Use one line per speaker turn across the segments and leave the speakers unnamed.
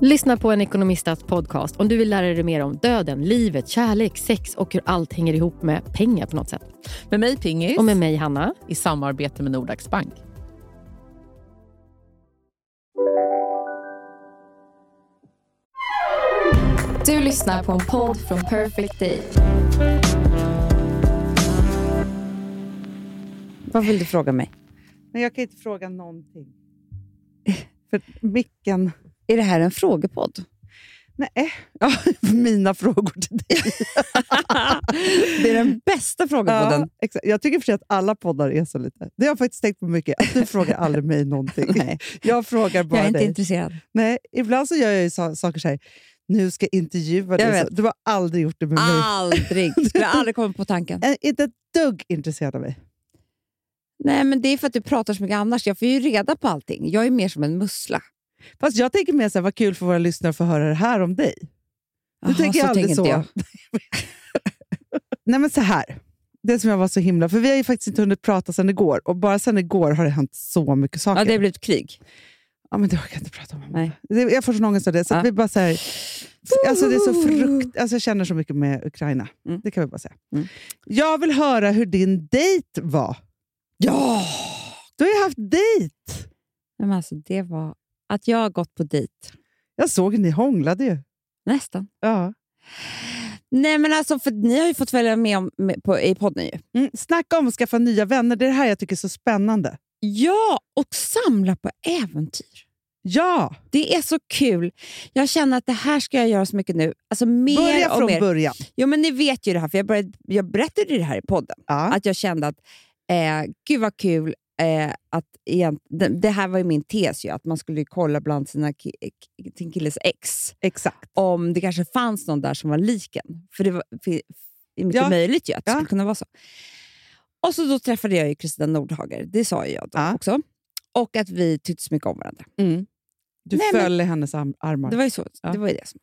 Lyssna på en ekonomistats podcast om du vill lära dig mer om döden, livet, kärlek, sex och hur allt hänger ihop med pengar på något sätt.
Med mig Pingis.
Och med mig Hanna.
I samarbete med Nordax Bank.
Du lyssnar på en podd från Perfect Day.
Vad vill du fråga mig?
Nej, jag kan inte fråga någonting. För micken...
Är det här en frågepodd?
Nej. Ja, mina frågor till dig.
Det är den bästa frågepodden.
Ja, exakt. Jag tycker för sig att alla poddar är så lite. Det har jag faktiskt tänkt på mycket. Att du frågar aldrig mig någonting.
Nej.
Jag frågar bara
jag är inte
dig.
intresserad.
Nej, ibland så gör jag ju sa- saker så här. Nu ska jag intervjua
Jag
dig.
vet.
Så- Du har aldrig gjort det med mig.
Aldrig. Skulle jag aldrig komma på tanken.
Jag är inte ett dugg intresserad av mig.
Nej, men Det är för att du pratar så mycket annars. Jag får ju reda på allting. Jag är mer som en mussla.
Fast jag tänker mer så här, vad kul för våra lyssnare att få höra det här om dig. Du tänker jag aldrig så.
inte jag.
Nej, men så här. Det som jag var så himla... För vi har ju faktiskt inte hunnit prata sedan igår. Och bara sedan igår har det hänt så mycket saker.
Ja, det har blivit krig.
Ja, men det orkar jag inte prata om.
Nej.
Det- Jag får sån ångest av det. Så
Ja.
vi bara så här, alltså det är så frukt, alltså jag känner så mycket med Ukraina.
Mm.
Det kan vi bara säga.
Mm.
Jag vill höra hur din dejt var.
Ja!
Du har ju haft dejt.
Nej, Men alltså, det var att jag har gått på dejt.
Jag såg att ni hånglade ju.
Nästan.
Ja.
Nej, men alltså, för ni har ju fått följa med, om, med på, i podden. Ju.
Mm. Snacka om att skaffa nya vänner. Det är det här jag tycker är så spännande.
Ja, och samla på äventyr.
Ja,
Det är så kul. Jag känner att det här ska jag göra så mycket nu. Alltså, mer
börja
och
från
mer.
början.
Jo, men ni vet ju det här, för jag, började, jag berättade ju det här i podden.
Ja.
Att jag kände att, eh, gud vad kul, eh, att egent, det, det här var ju min tes ju, att man skulle ju kolla bland sina ki, ki, sin killes ex
Exakt.
om det kanske fanns någon där som var liken. För det var för, är mycket
Ja.
möjligt ju att det
Ja.
skulle kunna vara så. Och så då träffade jag ju Kristina Nordhager, det sa ju jag då
Ja.
också. Och att vi tyckte så mycket om varandra.
Du
Nej, men-
föll i hennes am- armar.
Det var ju så.
Ja.
Det var ju det som.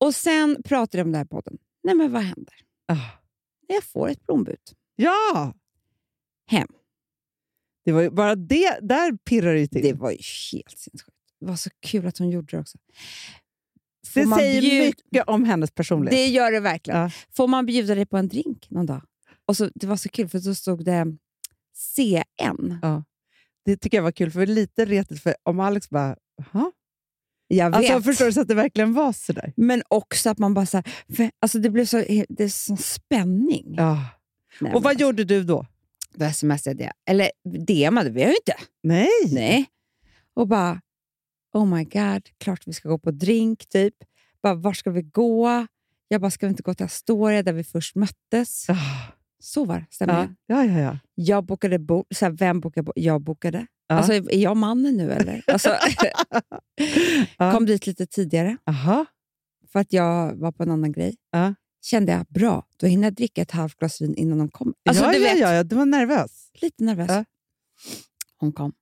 Och sen pratade jag om det här i podden. Nej men vad händer?
Ah.
Jag får ett blombud.
Ja!
Hem.
Det var ju bara det. Där pirrar det ju till.
Det var ju helt sinnessjukt. Det var så kul att hon gjorde det också. Får
Det
man
säger
bjud-
mycket om hennes personlighet.
Det gör det verkligen.
Ja.
Får man bjuda dig på en drink någon dag? Och så, det var så kul, för då stod det CN.
Det tycker jag var kul, för det är lite retigt för om Alex bara Jaha?
Jag vet.
Alltså, förstår du så att det verkligen var sådär?
Men också att man bara... Så här, för, alltså det blev så, det är sån spänning.
Ja.
Nej,
Och
men alltså-
vad gjorde du då?
Då smsade jag. Eller DMade, vi har ju inte.
Nej!
Nej. Mm. Och bara, oh my god, klart vi ska gå på drink, typ. Bara, var ska vi gå? Jag bara, ska vi inte gå till Astoria där vi först möttes?
Ah,
Så var
Ja,
stämningen.
ja, ja. ja.
Jag bokade bord. Så här, vem bokade bord? Jag bokade.
Ja.
Alltså, är jag mannen nu eller? Alltså,
Ja.
Kom dit lite tidigare
Aha.
för att jag var på en annan grej.
Ja.
Kände jag, bra, då hinner jag dricka ett halvt glas vin innan de kommer. Alltså,
ja,
du
ja,
vet,
ja, ja, du var nervös.
lite nervös.
Ja.
Hon kom.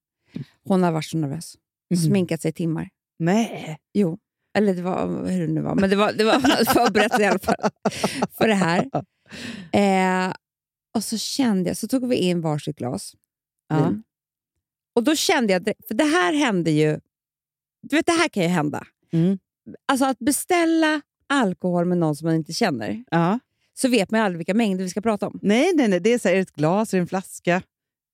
Hon har varit så nervös.
Mhm.
Sminkat sig i timmar.
Nej.
Jo, eller det var hur det nu var. Men det var, det var förberett i alla fall för det här. Eh, och så kände jag, så tog vi in varsitt glas
Ja.
vin. Och då kände jag, direkt- för det här hände ju, du vet det här kan ju hända.
Mm.
Alltså att beställa alkohol med någon som man inte känner,
Ja.
så vet man ju aldrig vilka mängder vi ska prata om.
Nej, nej, nej. Det är så här, är det ett glas, är det en flaska?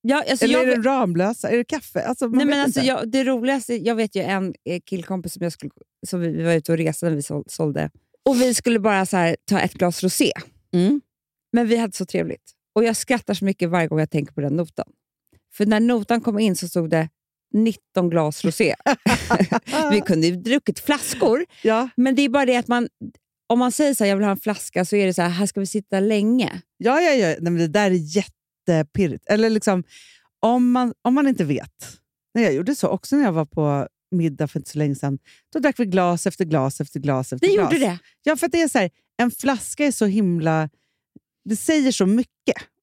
Ja, alltså
Eller
jag,
är det en Ramlösa? Är det kaffe? Alltså, man
Nej,
vet
men alltså
inte.
jag, det roligaste, jag vet ju en eh, killkompis som, jag skulle, som vi vi var ute och reste när vi sål- sålde. Och vi skulle bara så här, ta ett glas rosé.
Mm.
Men vi hade så trevligt. Och jag skrattar så mycket varje gång jag tänker på den notan. För när notan kom in så stod det 19 glas rosé. vi kunde ju druckit flaskor,
Ja,
men det är bara det att man, om man säger så här, jag vill ha en flaska, så är det så här, här ska vi sitta länge.
ja, ja. ja. Nej, men det där är jättepirrigt. Eller liksom, om man, om man inte vet. Nej, jag gjorde så också när jag var på middag för inte så länge sedan. Då drack vi glas efter glas efter glas. efter
Ni
glas.
gjorde det.
Ja, för att det är så här, en flaska är så himla... Det säger så mycket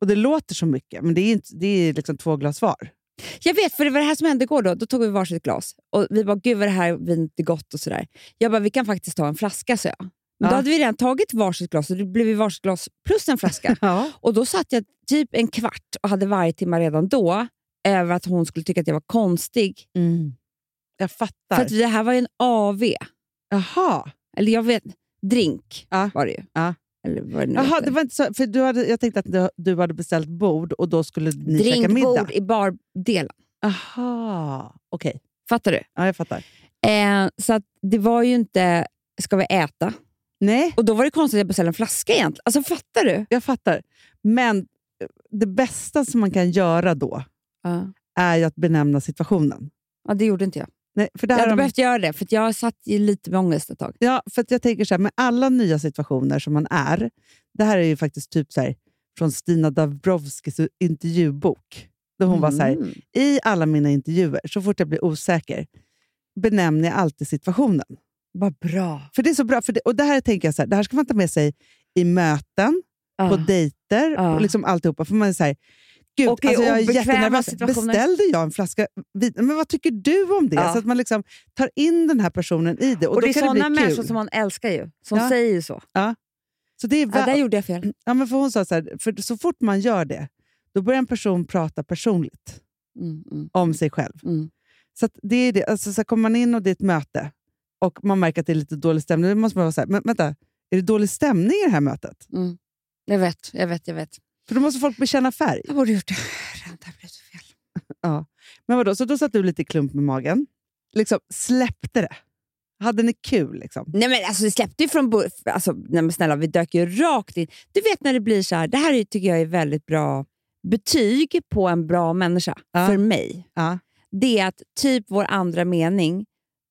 och det låter så mycket, men det är, inte, det är liksom två glas var.
Jag vet, för det var det här som hände igår. Då Då tog vi varsitt glas. Och Vi bara, gud vad det här vinet är gott och sådär. Jag bara, vi kan faktiskt ta en flaska, så jag. Men
Ja.
då hade vi redan tagit varsitt glas och det blev ju varsitt glas plus en flaska.
Ja.
och Då satt jag typ en kvart och hade varje timme redan då över att hon skulle tycka att jag var konstig.
Mm. Jag
För
fattar.
att det här var ju en AV.
Jaha.
Eller jag vet, drink
Ja.
var det ju.
Ja.
Eller vad det nu
Jaha,
heter.
det var inte så, för du hade, jag tänkte att du, du hade beställt bord och då skulle ni käka middag.
Drinkbord i bardelen.
Jaha, okej.
Fattar du?
Ja, jag fattar.
Eh, så att det var ju inte, ska vi äta?
Nej,
Och då var det konstigt att jag beställde en flaska egentligen. Alltså fattar du?
jag fattar. Men eh, det bästa som man kan göra då
Ja.
är ju att benämna situationen.
det gjorde inte jag.
Nej, för det
Jag
här
hade
har-
behövt göra det, för att jag satt ju lite med ångest ett tag.
Ja, för att jag tänker så här, med alla nya situationer som man är, det här är ju faktiskt typ så här, från Stina Dabrowskis intervjubok. Då hon var så här, i alla mina intervjuer, så fort jag blir osäker, benämner jag alltid situationen.
Vad bra.
För det är så bra, för det, och det här tänker jag så här, det här ska man ta med sig i möten, på dejter
Ja.
och liksom alltihopa. För man är så här, Gud,
Och i
alltså jag är
obekväma
jättenervös.
situationer.
Beställde jag en flaska vin? Men vad tycker du om det?
Ja.
Så att man liksom tar in den här personen i det. Och,
Och
då
det är
kan det bli
sådana människor
kul.
som man älskar ju, som
Ja.
säger ju så.
Så det är
Ja,
väl-
där gjorde jag fel.
Ja, men för hon sa så här, för så fort man gör det, då börjar en person prata personligt
Mm, mm.
om sig själv.
Mm.
Så att det är det. Alltså, så här, kommer man in och det är ett möte och man märker att det är lite dålig stämning, då måste man vara så här, men vänta, är det dålig stämning i det här mötet?
mm. Jag vet, jag vet, jag vet.
För då måste folk bekänna färg.
Jag borde gjort det. Redan där blev det fel.
Men vadå, så då satt du lite i klump med magen, liksom släppte det. Hade ni kul liksom?
Nej men alltså det släppte ju från början. Alltså, nej men snälla, vi dök ju rakt in. Du vet när det blir så här, det här är- tycker jag är väldigt bra betyg på en bra människa,
Ja.
för mig.
Ja.
Det är att typ vår andra mening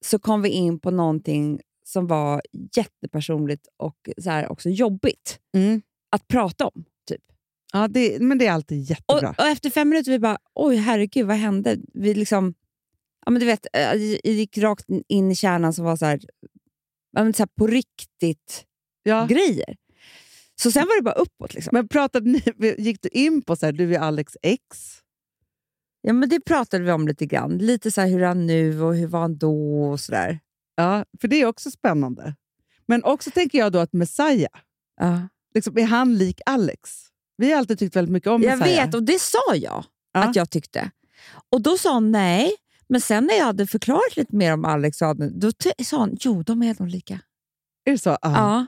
så kom vi in på någonting som var jättepersonligt och så här också jobbigt
Mm.
att prata om. Typ.
Ja, det, men det är alltid
Och,
jättebra.
och efter fem minuter vi bara, oj herregud vad hände? Vi liksom, ja men du vet, eh, det gick rakt in i kärnan som var så här, ja, men så här på riktigt
ja.
grejer. Så sen var det bara uppåt. Liksom.
Men pratade ni, gick du in på så här, du är Alex ex?
Ja, men det pratade vi om lite grann. Lite så här, hur är han nu och hur var han då och sådär.
Ja, för det är också spännande. Men också tänker jag då att Messiah,
Ja.
liksom, är han lik Alex? Vi har alltid tyckt väldigt mycket om
Jag
Messiah.
vet och det sa jag
Ja.
att jag tyckte. Och då sa hon nej. Men sen när jag hade förklarat lite mer om Alex och Adam, då ty- sa hon jo, de är nog lika.
Är det så? Ja.
Ja,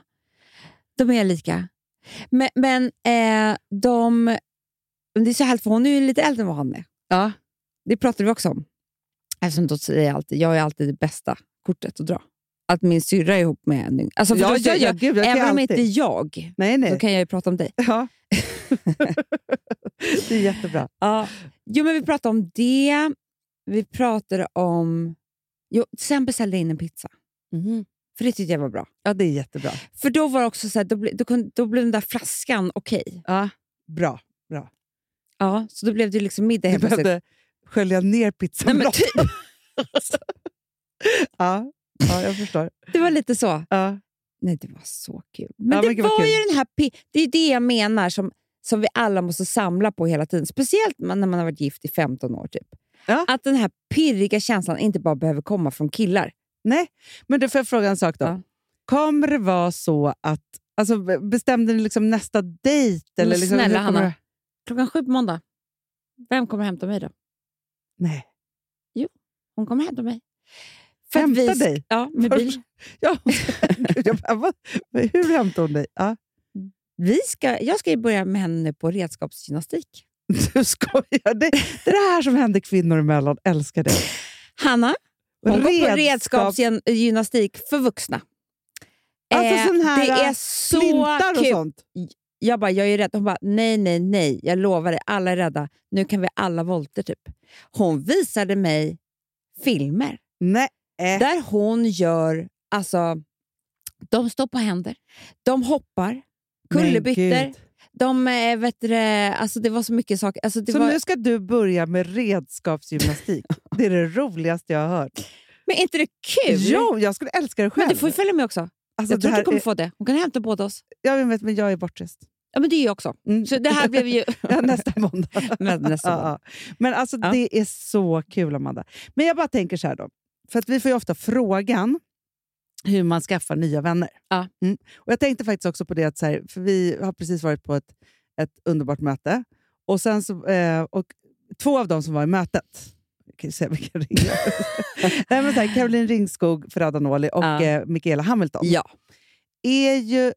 de är lika. Men, men eh, de... men Det är så härligt, för hon är ju lite äldre än vad han är.
Ja.
Det pratade vi också om. Eftersom då säger jag alltid, jag är alltid det bästa kortet att dra. Att min syrra är ihop med en yngre. Alltså,
Ja,
för då
ja,
säger
ja,
jag,
gud, jag kan
även om
alltid-
inte är jag,
Nej, nej.
då kan jag ju prata om dig.
Ja. det är jättebra.
Ja. Jo, men vi pratade om det. Vi pratade om... Jo, sen beställde jag in en pizza.
Mhm.
För det tyckte jag var bra.
Ja, det är jättebra.
För då var det också så här, då, ble, då, kunde, då blev den där flaskan okej.
Ja. Bra.
Ja, så då blev det ju liksom middag
Du
helt plötsligt.
behövde skölja ner
Nej,
pizzan.
men typ,
ja. ja, jag förstår.
det var lite så.
Ja.
Nej, det var så kul. Men
Ja,
det
men gud, vad
var
kul.
ju den här... pi- Det är det jag menar som, som vi alla måste samla på hela tiden. Speciellt man- när man har varit gift i 15 år. typ.
Ja.
Att den här pirriga känslan inte bara behöver komma från killar.
Nej, men du får jag fråga en sak då.
Ja.
Kommer det vara så att... Alltså, bestämde ni liksom nästa dejt?
Men
Eller liksom,
snälla,
hur kommer
Hanna.
det-
Klockan sju på måndag. Vem kommer hämta mig då?
Nej.
Hon kommer hämta mig. att
Hämta
vi sk-
dig?
Ja, med bil.
Ja, gud, jag bara, vad, hur hämtade hon dig? Ja.
Vi ska, jag ska ju börja med henne nu på redskapsgymnastik.
Du skojar. Det, det är det här som händer kvinnor emellan. Älskar det.
Hanna, hon går på redskapsgymnastik för vuxna. Eh,
Alltså sån här,
det
äh,
är så
Flintar och
kul.
sånt.
Jag bara, jag är rädd. Hon bara, nej, nej, nej. Jag lovar dig, alla är rädda. Nu kan vi alla volter typ. Hon visade mig filmer
Nej. eh,
där hon gör, alltså, de står på händer, de hoppar,
men
kullerbyttor.
gud.
De, eh, vet du, det, alltså det var så mycket saker. Alltså det
Så
var,
nu ska du börja med redskapsgymnastik. Det är det roligaste jag har hört.
Men är inte det kul?
Jo, jag skulle älska det själv.
men du får ju följa med också.
Alltså,
jag
det
tror
här
du kommer
är,
få det. Hon kan hämta båda oss.
jag vet, men jag är bortrest.
Ja, men det är jag också.
Mm.
Så det här blev ju...
Ja, nästa måndag.
Men nästa
ja, ja. Men alltså,
Ja.
det är så kul, Amanda. Men jag bara tänker så här då. För att vi får ju ofta frågan hur man skaffar nya vänner.
Ja.
Mm. Och Jag tänkte faktiskt också på det, att så här, för vi har precis varit på ett, ett underbart möte. Och, sen så, eh, och Två av dem som var i mötet, jag kan ju säga vilka det är. Nej, men så här, Caroline Ringskog, Ferrada Noli och
Ja.
eh, Michaela Hamilton
Ja.
är ju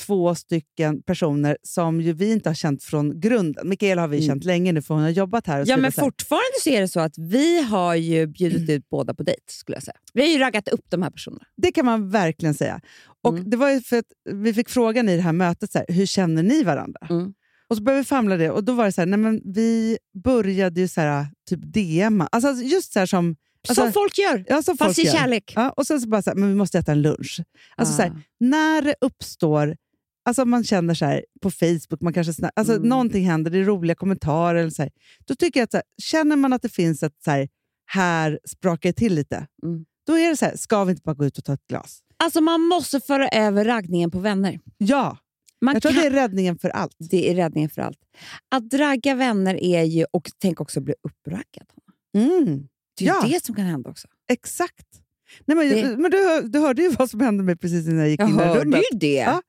två stycken personer som ju vi inte har känt från grunden. Mikaela har vi
Mm.
känt länge nu för hon har jobbat här. Och
ja,
skrivit
men
så här.
fortfarande så är det så att vi har ju bjudit ut båda på dejt, skulle jag säga. Vi har ju raggat upp de här personerna.
Det kan man verkligen säga. Och
Mm.
det var ju för att Vi fick frågan i det här mötet, så här, hur känner ni varandra?
Mm.
Och så började vi famla det och då var det så här, nej men vi började ju så här, typ DM. Alltså alltså, just så här som, Alltså-
som folk gör,
ja, som
fast
folk
i
gör.
kärlek. Ah.
Ja, och sen så bara så här, men vi måste äta en lunch. Alltså så här, när det uppstår, alltså man känner så här på Facebook, man kanske sna- alltså
Mm.
någonting händer, det är roliga kommentarer eller så här, då tycker jag att så här, känner man att det finns ett så här, här sprakar det till lite,
Mm.
då är det så här, ska vi inte bara gå ut och ta ett glas?
Alltså man måste föra över raggningen på vänner.
Ja,
Man
jag tror
kan...
det är räddningen för allt.
det är räddningen för allt. Att ragga vänner är ju, och tänk också bli uppraggad.
Mm,
Det är ju
Ja.
det som kan hända också.
exakt. Nej, men
Det-
men du, hör- du hörde ju vad som hände mig precis innan jag gick in i rummet.
ju det.
Ja.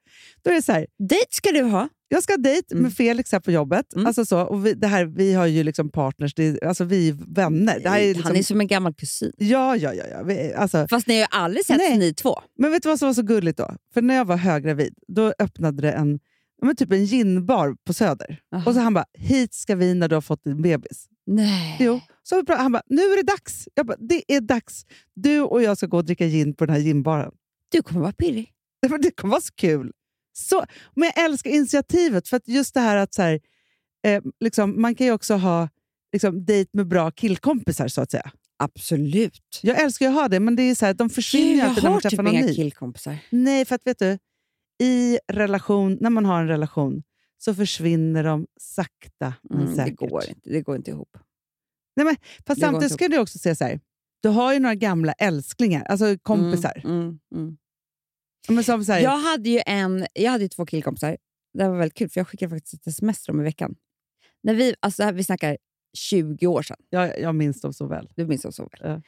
Då är det så här,
Dejt ska du ha.
Jag ska ha dejt
Mm.
med Felix här på jobbet.
Mm.
Alltså så, och vi, det här, vi har ju liksom partners, det är, alltså vi är vänner. Det här är liksom,
Han är som en gammal kusin.
Ja, ja, ja. ja. Vi, alltså.
Fast ni har ju aldrig sett
Nej.
ni två.
Men vet du vad som var så gulligt då? För när jag var höggravid, då öppnade det en, ja, men typ en ginbar på Söder. Och så han bara, hit ska vi när du har fått din bebis.
Nej.
Jo. Så vi pra- han bara, nu är det dags. Jag bara, det är dags. Du och jag ska gå och dricka gin på den här ginbaren.
Du kommer vara pirrig.
Nej, men Det kommer vara så kul. Så, men jag älskar initiativet, för att just det här att så här, eh, liksom, man kan ju också ha liksom, dejt med bra killkompisar, så att säga.
Absolut.
Jag älskar ju att ha det, men det är ju så här, att de försvinner ju
jag
alltid när man
har
träffar
typ
någon
inga
ny. Mm,
killkompisar.
Nej, för att vet du, i relation, när man har en relation så försvinner de sakta men
Mm, det,
säkert.
går inte, det går inte ihop.
Fast
det går
samtidigt
inte
ska du också säga så här, du har ju några gamla älsklingar, alltså kompisar.
Mm, mm, mm.
Men som så här,
Jag hade ju en, jag hade ju två killkompisar. Det här var väldigt kul, för jag skickade faktiskt ett sms till dem i veckan. När vi, alltså det här, vi snackar 20 år sedan.
jag, jag minns dem så väl.
Du minns dem så väl.
Ja.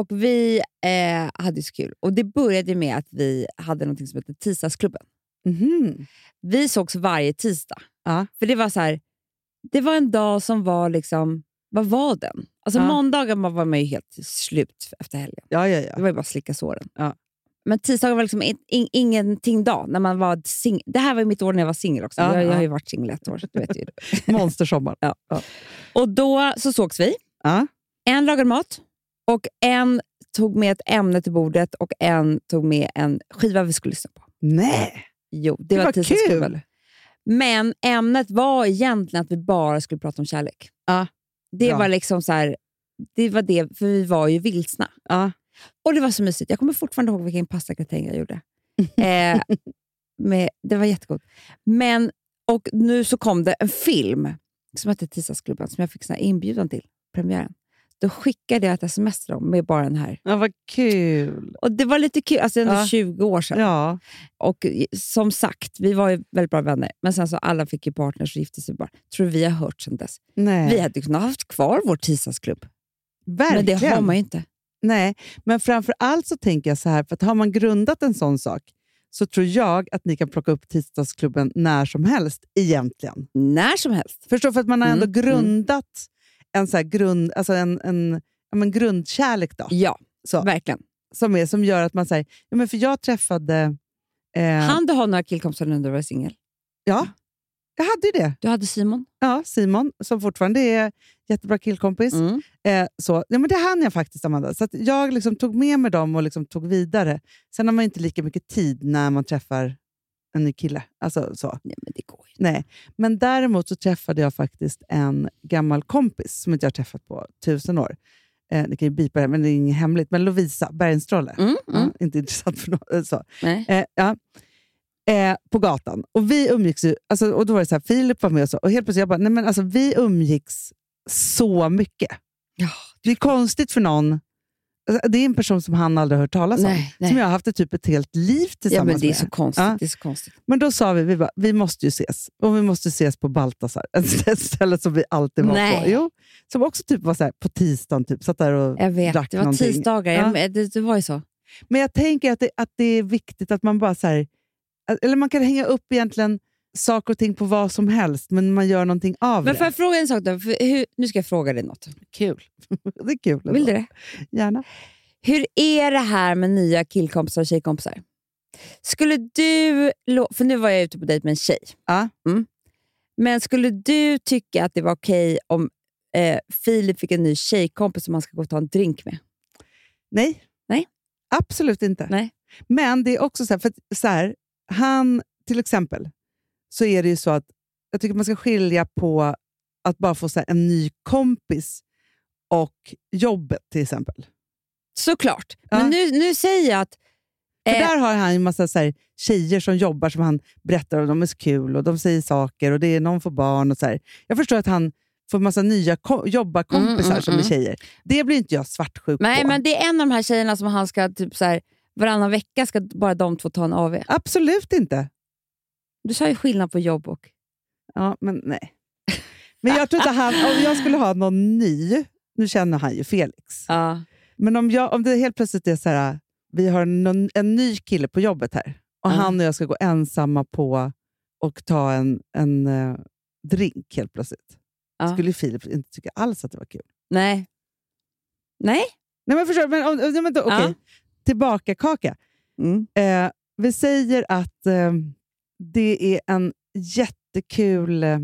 Och vi eh, hade ju så kul. Och det började med att vi hade något som hette Tisdagsklubben.
Mhm.
Vi sågs varje tisdag.
Ja.
För det var så här, det var en dag som var liksom, vad var den? Alltså
Ja.
måndagen var var man ju helt slut efter helgen.
Ja, ja,
Det
ja.
var ju bara att slicka såren.
Ja.
Men tisdagen var liksom in, in, ingenting dag när man var sing- Det här var ju mitt år när jag var singel också.
Ja,
jag, jag har
ja.
ju varit singel ett år. Du vet ju. det.
Monstersommar.
Ja. Och då så sågs vi.
Ja.
En lagade mat och en tog med ett ämne till bordet och en tog med en skiva vi skulle lyssna på.
Nej!
Jo, det,
Det
var
var
tisdagsklubben.
kul.
Men ämnet var egentligen att vi bara skulle prata om kärlek.
Ja,
Det
bra.
var liksom så här, det var det, för vi var ju vilsna.
Ja.
Och det var så mysigt. Jag kommer fortfarande ihåg vilken pastagratäng jag gjorde. eh, med, det var jättegott. Men, och nu så kom det en film som hette Tisdagsklubben som jag fick sån här inbjudan till, premiären. Då skickade jag ett sms till dem med bara den här.
Ja, vad kul.
Och det var lite kul, alltså det är ändå
Ja.
20 år sedan.
Ja.
Och i- som sagt, vi var ju väldigt bra vänner, men sen så alla fick ju partners och gifte sig bara. Tror du vi har hört sen dess.
Nej.
Vi hade ju kunnat haft kvar vår tisdagsklubb,
Verkligen.
men det har man ju inte.
Nej, men framför allt så tänker jag så här, för att har man grundat en sån sak så tror jag att ni kan plocka upp tisdagsklubben när som helst egentligen.
När som helst.
Förstår du? För att man har ändå
Mm, mm.
grundat en, så här grund, alltså en, en, ja, men grundkärlek då,
Ja,
så,
verkligen.
som, är, som gör att man säger, ja, men för jag träffade... Eh,
Han du har några killkompisar nu när du var singel?
Ja, jag hade ju det.
Du hade Simon?
Ja, Simon, som fortfarande är jättebra killkompis.
Mm.
Eh, så, ja, men det hann jag faktiskt, Amanda. Så att jag liksom tog med mig dem och liksom tog vidare. Sen har man ju inte lika mycket tid när man träffar en ny kille. Alltså, så.
Nej, men det går ju
Nej. Men däremot så träffade jag faktiskt en gammal kompis som inte jag har träffat på tusen år. Eh, ni kan ju bipa det här, men det är inget hemligt. Men Lovisa Bergenstråle.
mm, mm.
Ja, inte intressant för någon. eh, Så.
Nej.
Eh, ja. eh, på gatan. Och vi umgicks ju, alltså, och då var det så här, Filip var med och så. Och helt plötsligt jag bara, nej men alltså vi umgicks så mycket.
Ja,
det är konstigt för någon Alltså, Det är en person som han aldrig har hört talas om.
Nej, nej.
Som jag har haft ett, typ ett helt liv
Ja,
tillsammans
men det är
med.
så konstigt.
Ja.
Det är så konstigt.
Men då sa vi, vi, bara, vi måste ju ses. Och vi måste ses på Baltasar. Ett ställe som vi alltid var på.
Nej.
Jo, som också typ var så här, på tisdagen. Typ, satt där och
Jag vet,
drack
det var
någonting.
tisdagar.
Ja.
Jag, det, det var ju så.
Men jag tänker att det, att det är viktigt att man bara så här, att- eller man kan hänga upp egentligen saker och ting på vad som helst, men man gör någonting av
Men
det.
får jag fråga en sak då? För hur, nu ska jag fråga dig något.
Kul.
Det är kul. ändå.
Vill du det?
Gärna.
Hur är det här med nya killkompisar och tjejkompisar? Skulle du... lo- För nu var jag ute på dejt med en tjej.
Ja.
Mm. Men skulle du tycka att det var okej om eh, Filip fick en ny tjejkompis som han ska gå och ta en drink med?
Nej.
Nej.
Absolut inte.
Nej.
Men det är också så här, för att så här, han till exempel, så är det ju så att jag tycker man ska skilja på att bara få så här, en ny kompis och jobbet till exempel.
Såklart.
Ja.
Men nu, nu säger jag att...
För
Eh.
där har han ju en massa så här, tjejer som jobbar som han berättar om. De är så kul och de säger saker och det är någon får barn. och så här. Jag förstår att han får massa nya ko- jobbarkompisar
Mm, mm,
som är
mm.
tjejer. Det blir inte jag svartsjuk
Nej,
på.
men det är en av de här tjejerna som han ska typ så här, varannan vecka ska bara de två ta en AV.
Absolut inte.
Du sa ju skillnad på jobb och...
Ja, men nej. Men jag tror inte han, om jag skulle ha någon ny, nu känner han ju Felix,
Ja.
men om, jag, om det helt plötsligt är så här, vi har någon, en ny kille på jobbet här och
Ja.
han och jag ska gå ensamma på och ta en, en eh, drink helt plötsligt.
Ja.
Skulle ju Filip inte tycka alls att det var kul.
Nej. Nej?
Nej men förstår du, men, om, ja, men då, okej.
Ja.
Tillbaka kaka. Eh, vi säger att eh, det är en jättekul eh,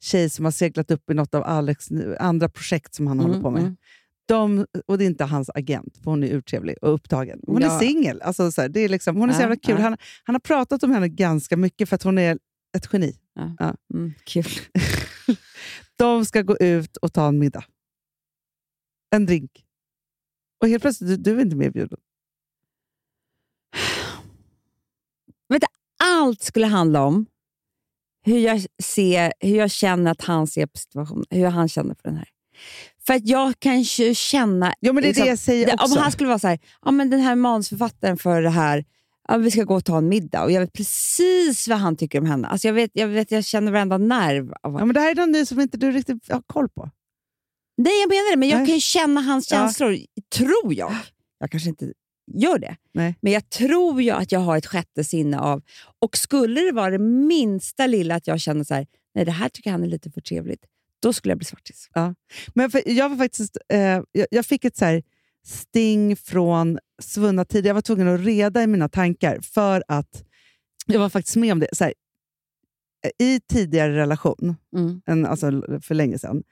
tjej som har seglat upp i något av Alex nu- andra projekt som han håller
Mm,
på med.
mm.
De, och det är inte hans agent, för hon är urtrevlig och upptagen. Hon är
Ja.
singel. Alltså, så här, det är liksom, hon är så
Ja,
jävla kul.
ja.
Han, han har pratat om henne ganska mycket för att hon är ett geni.
Mm, kul.
De ska gå ut och ta en middag. En drink. Och helt plötsligt, du, du är inte medbjuden.
Allt skulle handla om hur jag, ser, hur jag känner att han ser på situationen. Hur han känner på den här. För att jag kan ju känna...
Ja, men det är
liksom-
det jag säger
det-
också.
om han skulle vara så här, ja, men den här manusförfattaren för det här, ja, vi ska gå och ta en middag och jag vet precis vad han tycker om henne. Alltså jag, vet, jag, vet, jag känner varenda nerv. Av
Ja,
honom.
men det här är någon ny som inte du riktigt har koll på.
Nej, jag menar det, men jag
Nej.
kan ju känna hans
Ja.
känslor, tror jag. Jag kanske inte gör det,
Nej.
men jag tror ju att jag har ett sjätte sinne av... Och skulle det vara det minsta lilla att jag känner så här, nej det här tycker han är lite för trevligt, då skulle jag bli svartis.
Men för, jag, var faktiskt, eh, jag, jag fick ett så här sting från svunna tider. Jag var tvungen att reda i mina tankar för att jag var faktiskt med om det. Så här, eh, I tidigare relation,
Mm.
en, alltså l- för länge sedan,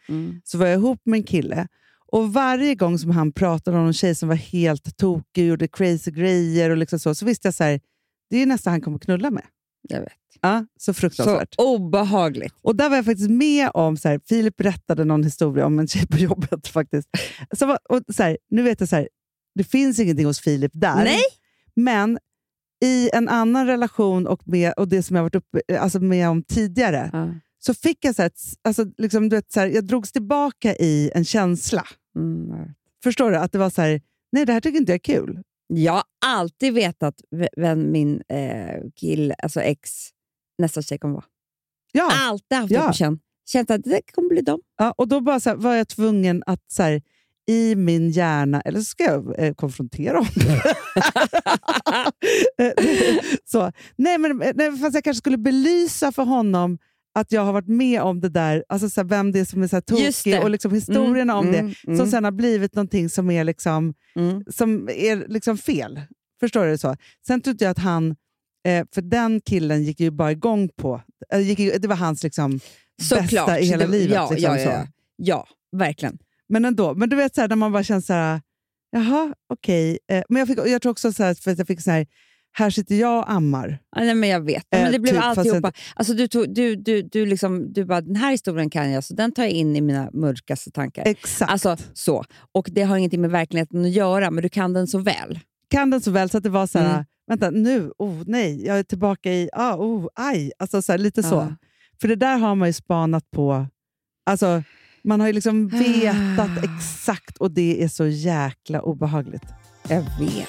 så var jag ihop med en kille. Och varje gång som han pratade om en tjej som var helt tokig och gjorde crazy grejer och liksom så, så visste jag så här, det är nästan han kommer knulla med.
Jag vet.
Ja, så
Så
fruktansvärt.
obehagligt.
Och där var jag faktiskt med om, så här, Filip berättade någon historia om en tjej på jobbet faktiskt. Så, var- och, så här, nu vet jag så här, det finns ingenting hos Filip där.
Nej.
Men i en annan relation och, med, och det som jag varit uppe, alltså med om tidigare, så fick jag så här, ett s- alltså, liksom, du vet, så här, jag drogs tillbaka i en känsla.
Mm, jag vet.
Förstår du? Att det var så här, nej det här tycker inte jag är kul.
Jag har alltid vetat v- vem min eh, kill, alltså ex nästa tjej kommer vara.
Ja.
Alltid haft
Ja.
det på känn. Känt att det kommer bli dem.
Ja, och då bara så här, var jag tvungen att så här, i min hjärna, eller så ska jag eh, konfrontera honom. Eh, så. Nej, men eh, nej, fast jag kanske skulle belysa för honom att jag har varit med om det där, alltså så här, vem det är som är så här
Just
tokig
det.
och liksom historierna om det,
Mm,
som sen har blivit någonting som är, liksom,
mm.
som är liksom fel. Förstår du? det så? Sen tror inte jag att han, eh, för den killen gick ju bara igång på, eh, gick, ju- det var hans liksom,
Såklart.
bästa i hela
Det-
livet.
Ja,
liksom,
ja, ja,
så.
ja. ja verkligen.
Men ändå, men du vet så här, när man bara känner så här, jaha, okej. Eh, men jag, fick, jag tror också så här, för att jag fick så här, här sitter jag och ammar.
Ja, Nej, men jag vet.
Eh,
Men det blev
typ, fast
alltihopa. Alltså, du, tog, du, du, du, liksom, du bara, den här historien kan jag, så den tar jag in i mina mörkaste tankar.
Exakt.
Alltså så. Och det har ingenting med verkligheten att göra, men du kan den så väl.
kan den så väl så att det var så här,
Mm.
vänta nu, oh nej, jag är tillbaka i, ah, oh, aj. Alltså så här, lite så.
Ja.
För det där har man ju spanat på, alltså Man har ju liksom vetat exakt och det är så jäkla obehagligt.
Jag vet.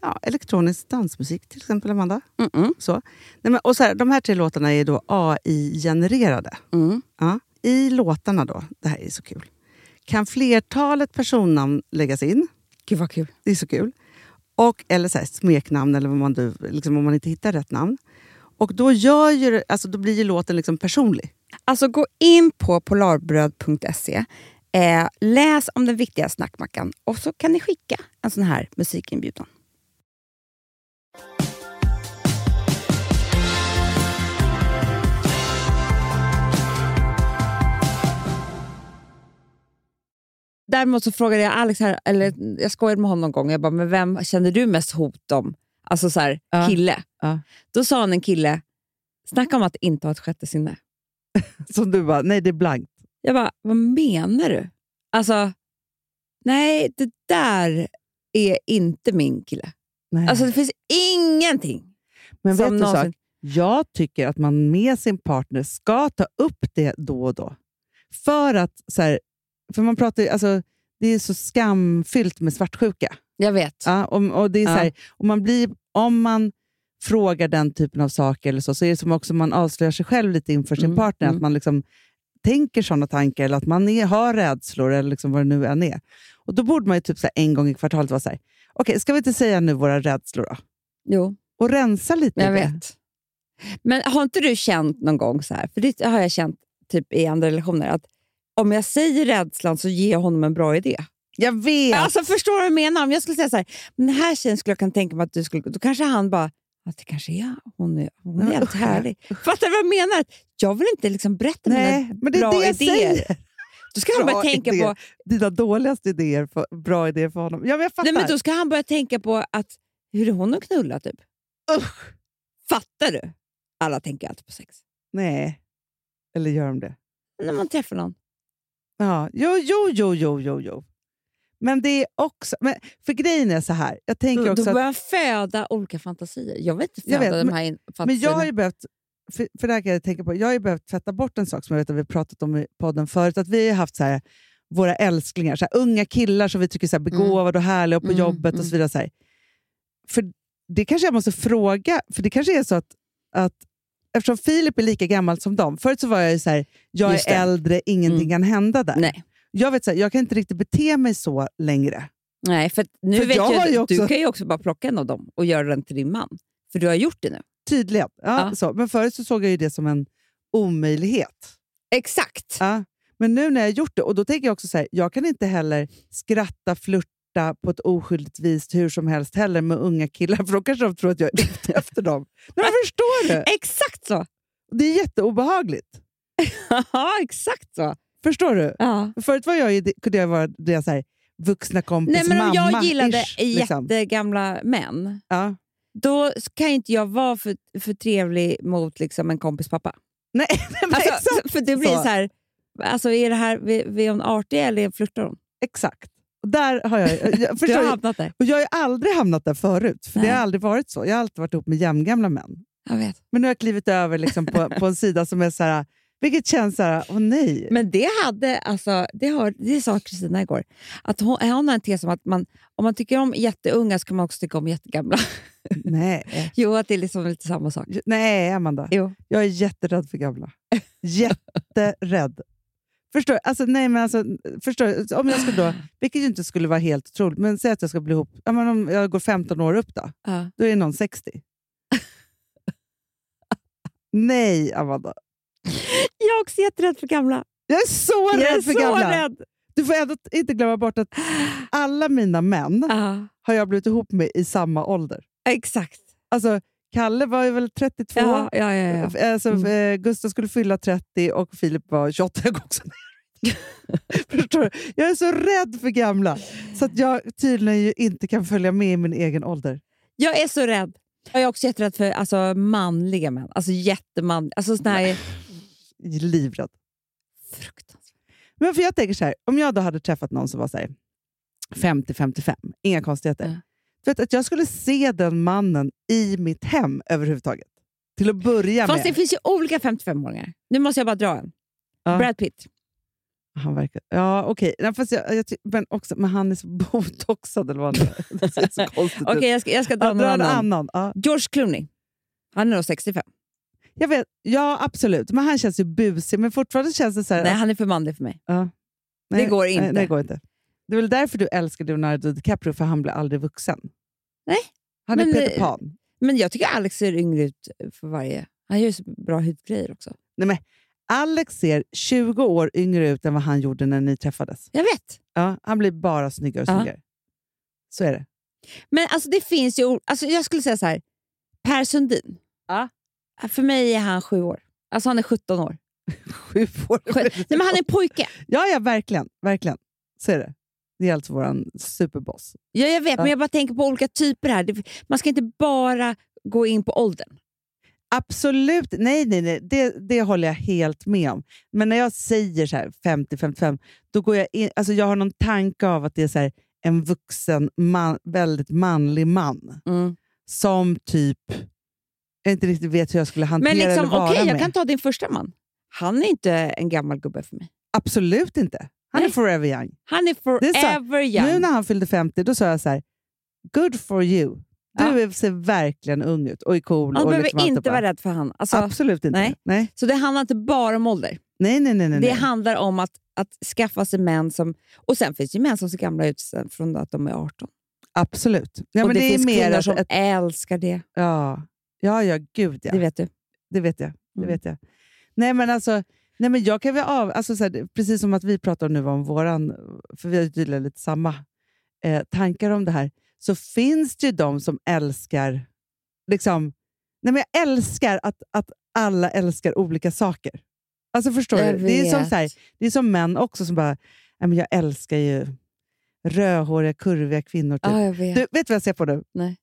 ja, elektronisk dansmusik till exempel, Amanda. Så. Nej, men, och så här, de här tre låtarna är då AI-genererade.
Mm.
Ja. I låtarna då, det här är så kul, kan flertalet personnamn läggas in.
Gud vad kul.
Det är så kul. Och, eller så här, smeknamn, eller vad man, du- liksom, om man inte hittar rätt namn. Och då, gör ju, det- alltså, då blir ju låten liksom personlig.
Alltså gå in på polarbröd.se, eh, läs om den viktiga snackmackan och så kan ni skicka en sån här musikinbjudan. Däremot så frågade jag Alex, här, eller jag skojade med honom någon gång, jag bara, men vem känner du mest hot om? alltså så här,
Ja.
kille.
Ja.
Då sa han en kille, snacka om att inte ha ett sjätte sinne.
Som du bara, nej det är blankt.
Jag bara, vad menar du? Alltså, nej det där är inte min kille.
Nej.
Alltså det finns ingenting.
Men vet
som
du en
någonsin-
sak? Jag tycker att man med sin partner ska ta upp det då och då. För att, så här, för man pratar ju- alltså, det är så skamfyllt med svartsjuka.
Jag vet.
Ja, och, och det är så
Ja.
här, och man blir, om man frågar den typen av saker eller så, så är det som också man avslöjar sig själv lite inför sin
Mm,
partner. Att
mm.
man liksom tänker sådana tankar eller att man är, har rädslor eller liksom vad det nu än är. Och då borde man ju typ så här en gång i kvartalet vara så här, okej, ska vi inte säga nu våra rädslor då?
Jo,
Och rensa lite i
jag
det.
vet. Men har inte du känt någon gång så här, för det har jag känt typ i andra relationer, att om jag säger rädslan så ger jag honom en bra idé.
Jag vet!
Alltså förstår du vad jag menar? Om jag skulle säga så här, men den här tjejen skulle jag kunna tänka mig att du skulle... Då kanske han bara, att det kanske är hon. Är, hon är
men
jävligt
usch.
härlig. Fattar du vad jag menar? Att Jag vill inte liksom berätta mina...
Nej, men det är
bra
det jag
idéer.
säger.
Då ska han
bra
börja tänka
idéer.
på...
Dina dåligaste idéer, för, bra idéer för honom. Ja, men jag fattar.
Nej, men då ska han börja tänka på att, hur är hon att knulla typ?
Usch.
Fattar du? Alla tänker alltid på sex.
Nej. Eller gör de det?
När man träffar någon.
Ja, jo, jo, jo, jo, jo, jo. Men det är också... Men för grejen är så här, jag
Då,
tänker
då
också att,
börjar han föda olika fantasier. Jag vill inte
Jag
föda
vet,
de
men-
här in-
Men jag
fantasierna.
har ju behövt... För, för det här kan jag tänka på. Jag har ju behövt tvätta bort en sak som jag vet att vi har pratat om i podden förut. Att vi har ju haft så här, våra älsklingar, så här, unga killar som vi tycker är så här,
Mm.
begåvade och härliga och på
Mm,
jobbet och så vidare. Så här. För det kanske jag måste fråga, för det kanske är så att, att eftersom Filip är lika gammal som dem. Förut så var jag ju så här, jag
Just
är
det.
äldre, ingenting
Mm.
kan hända där.
Nej.
Jag vet så här, jag kan inte riktigt bete mig så längre.
Nej, för att nu
För
vet
jag
jag,
har ju
att
också-
du kan ju också bara plocka en av dem och göra den till din man. För du har gjort det nu.
Tydligen. Ja,
Ja.
Så. Men förut så såg jag ju det som en omöjlighet.
Exakt.
Ja. Men nu när jag har gjort det, och då tänker jag också så här, jag kan inte heller skratta, flirta på ett oskyldigt vis hur som helst heller med unga killar, för då kanske de tror att jag är ute efter dem. Nej, men förstår du?
Exakt så!
Det är jätteobehagligt.
Ja, exakt så.
Förstår du?
Ja. Förut
Var jag, ju- kunde jag vara det så här, vuxna kompis
Nej, men om
mamma
jag gillade
ish, liksom.
jättegamla män,
ja.
då kan ju inte jag vara för, för trevlig mot liksom, en kompis pappa.
Nej, nej, men
Alltså,
exakt.
för det blir
så.
så, här, alltså, är, det här, är hon artig eller flörtar hon?
exakt. Och där har jag, jag
Du
förstår
har
ju-
hamnat där.
Och jag har ju aldrig hamnat där förut, för det
Nej.
har aldrig varit så. Jag har alltid varit ihop med jämngamla män.
Jag vet.
Men nu har jag klivit över liksom på, på en sida som är så här, vilket känns så här, åh nej.
Men det hade, alltså, det, har, det sa Kristina igår, att hon, hon har en tes om att man, om man tycker om jätteunga så kan man också tycka om jättegamla.
nej.
Jo, att det är liksom lite samma sak.
Nej, Amanda.
Jo.
Jag är jätterädd för gamla. Jätterädd. Förstår du? alltså, nej, men alltså, förstår du? Om jag skulle då, vilket ju inte skulle vara helt otroligt, men säg att jag ska bli ihop, ja, men om jag går 15 år upp då,
Ja.
då är det någon 60. nej, Amanda.
Jag är också jätterädd för gamla.
Jag är så
jag är
rädd för
så
gamla.
rädd.
Du får ändå inte glömma bort att alla mina män
Ja,
har jag blivit ihop med i samma ålder.
exakt.
Alltså, Kalle var ju väl 32,
Ja, ja, ja, Mm. ja.
Alltså, eh, Gustav skulle fylla 30 och Filip var 28. Jag går också ner. Förstår du? Jag är så rädd för gamla så att jag tydligen ju inte kan följa med i min egen ålder.
Jag är så rädd. Jag är också jätterädd för alltså, manliga män. Alltså jättemanliga. Alltså såna här...
Livrädd.
Fruktansvärt.
Men för jag tänker så här, om jag då hade träffat någon som var så här 50-55, inga konstigheter.
Ja.
Du vet att jag skulle se den mannen i mitt hem överhuvudtaget. Till att börja
Fast det
med.
finns ju olika 55-åringar. Nu måste jag bara dra en.
Ja.
Brad Pitt.
Han verkar... Ja, okej. Nej, fast jag, jag ty- men, också, men han är så botoxad eller vad han är. Det ser så konstigt
Okej,
ut.
jag, ska, jag ska dra
Ja,
någon
dra en
annan.
annan. Ja,
George Clooney. Han är nog 65.
jag vet, ja, absolut. Men han känns ju busig. Men fortfarande känns det så här...
Nej, han är för manlig för mig.
ja.
det går inte.
Nej, det går inte. Det är väl därför du älskar Leonardo DiCaprio, för han blir aldrig vuxen.
Nej,
Han är
men- eh,
Peter Pan.
Men jag tycker Alex ser yngre ut för varje... Han gör ju så bra hudgrejer också.
Alex ser 20 år yngre ut än vad han gjorde när ni träffades.
Jag vet.
Ja, han blir bara snyggare och
Ja.
snyggare. Så är det.
Men alltså det finns ju... Alltså jag skulle säga så här. Per Sundin. Äh, För mig är han sju år. Alltså han är 17 år.
Sju år.
Sju- Nej, men han är pojke.
Ja, ja, verkligen. verkligen. Så är det. Det är alltså vår superboss.
Ja, jag vet,
Ja.
men jag bara tänker på olika typer här. Det- Man ska inte bara gå in på åldern.
Absolut, nej, nej, nej. Det, det håller jag helt med om. Men när jag säger så här 50-55, då går jag in, alltså jag har någon tanke av att det är så här, en vuxen, man, väldigt manlig man
Mm.
som typ, jag inte riktigt vet hur jag skulle hantera
Men liksom,
eller vara
okej, jag
med.
kan ta din första man. Han är inte en gammal gubbe för mig.
Absolut inte. Han
Nej.
är forever young.
Han är
Det är så-
forever
Nu
young.
när han fyllde 50, då sa jag så här, good for you. Du
Ja.
är- ser verkligen ung ut och är cool.
Han
och
behöver
liksom allt det
inte
bara.
vara rädd för han. Alltså,
Absolut inte.
Nej.
Nej. Nej.
så det handlar inte bara om ålder.
Nej, nej, nej, nej.
Det handlar om att, att skaffa sig män som... Och sen finns det ju män som ser gamla ut sen från att de är 18.
Absolut. Ja,
och
men
det,
det,
finns
är mer
kvinnor
att-
som
att-
älskar det.
Ja, ja, ja gud
Det
ja. Det vet,
vet du.
jag. Det
Mm.
vet jag. Nej, men alltså, nej, men jag kan väl av... Alltså, så här, det- precis som att vi pratar nu om våran, för vi har ju tydligen lite samma eh, tankar om det här, så finns det ju de som älskar... Liksom, nej, men jag älskar att, att alla älskar olika saker. Alltså förstår
Jag
du? Det är, som
vet.
så här, det är som män också som bara, nej, men jag älskar ju rödhåriga, kurviga kvinnor. Typ.
Ah, Ja, jag vet.
Du, vet du vad jag ser på nu?
Nej.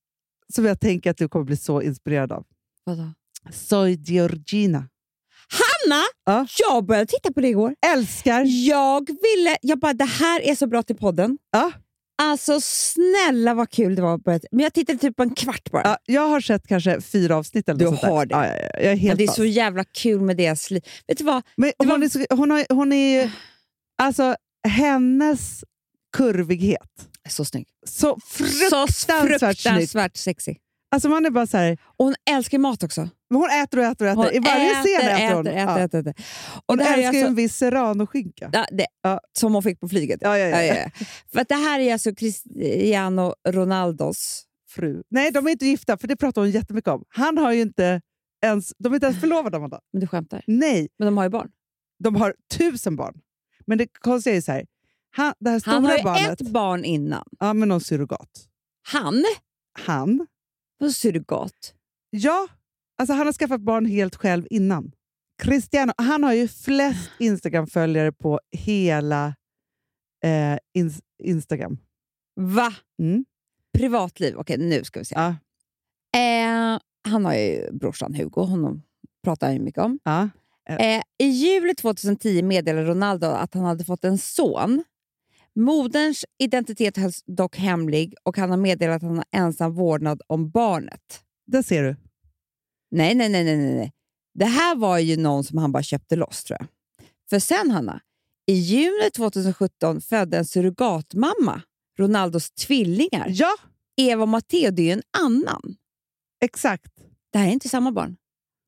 Som jag tänker att du kommer bli så inspirerad av.
Vadå?
Soy Georgina.
Hanna!
Ja.
Jag började titta på det igår.
Älskar!
Jag ville... Jag bara, det här är så bra till podden.
Ja.
Alltså snälla vad kul det var. att börja- Men jag tittade typ på en kvart bara.
Ja, jag har sett kanske fyra avsnitt eller
Du
något sånt där.
har det.
Ja, ja, ja, jag är
Men
helt
det är
fast.
så jävla kul med deras liv. Vet du vad? Ah.
Men
det
hon,
var-
är så, hon, har, hon är ju... Alltså, hennes kurvighet.
Så snygg.
Så
Så
fruktansvärt snygg.
fruktansvärt sexig.
Alltså man är bara så här,
Och hon älskar mat också.
men hon äter och äter och äter.
Hon
I varje scen äter,
äter,
hon.
äter,
ja.
äter, äter, äter. Och
Hon
det här är
älskar ju
alltså,
en viss serranoskinka.
ja, det,
Ja.
Som hon fick på flyget.
Ja, ja, ja.
Ja, ja, ja. För att det här är alltså Cristiano Ronaldos.
Fru. Nej, de är inte gifta, för det pratar hon jättemycket om. Han har ju inte ens, de är inte ens förlovade, Amanda.
Men du skämtar?
Nej,
Men de har ju barn.
de har tusen barn. Men det konstiga är ju så här, han, det här stora
Han har ju
barnet,
ett barn innan.
ja, men någon surrogat.
Han?
Han,
Vadå surrogat?
ja, alltså han har skaffat barn helt själv innan. Cristiano, han har ju flest Instagram-följare på hela eh, ins- Instagram.
Va?
Mm.
Privatliv? Okej, nu ska vi se.
Ja.
Eh, han har ju brorsan Hugo, honom pratar han ju mycket om.
Ja.
Eh, I juli 2010 meddelade Ronaldo att han hade fått en son. Moderns identitet hölls dock hemlig och han har meddelat att han har ensam vårdnad om barnet.
Där ser du.
Nej, nej, nej, nej, nej. nej. Det här var ju någon som han bara köpte loss tror jag. För sen Hanna, i juni 2017 födde en surrogatmamma Ronaldos tvillingar.
Ja,
Eva och Matteo, det är ju en annan.
exakt.
Det här är inte samma barn.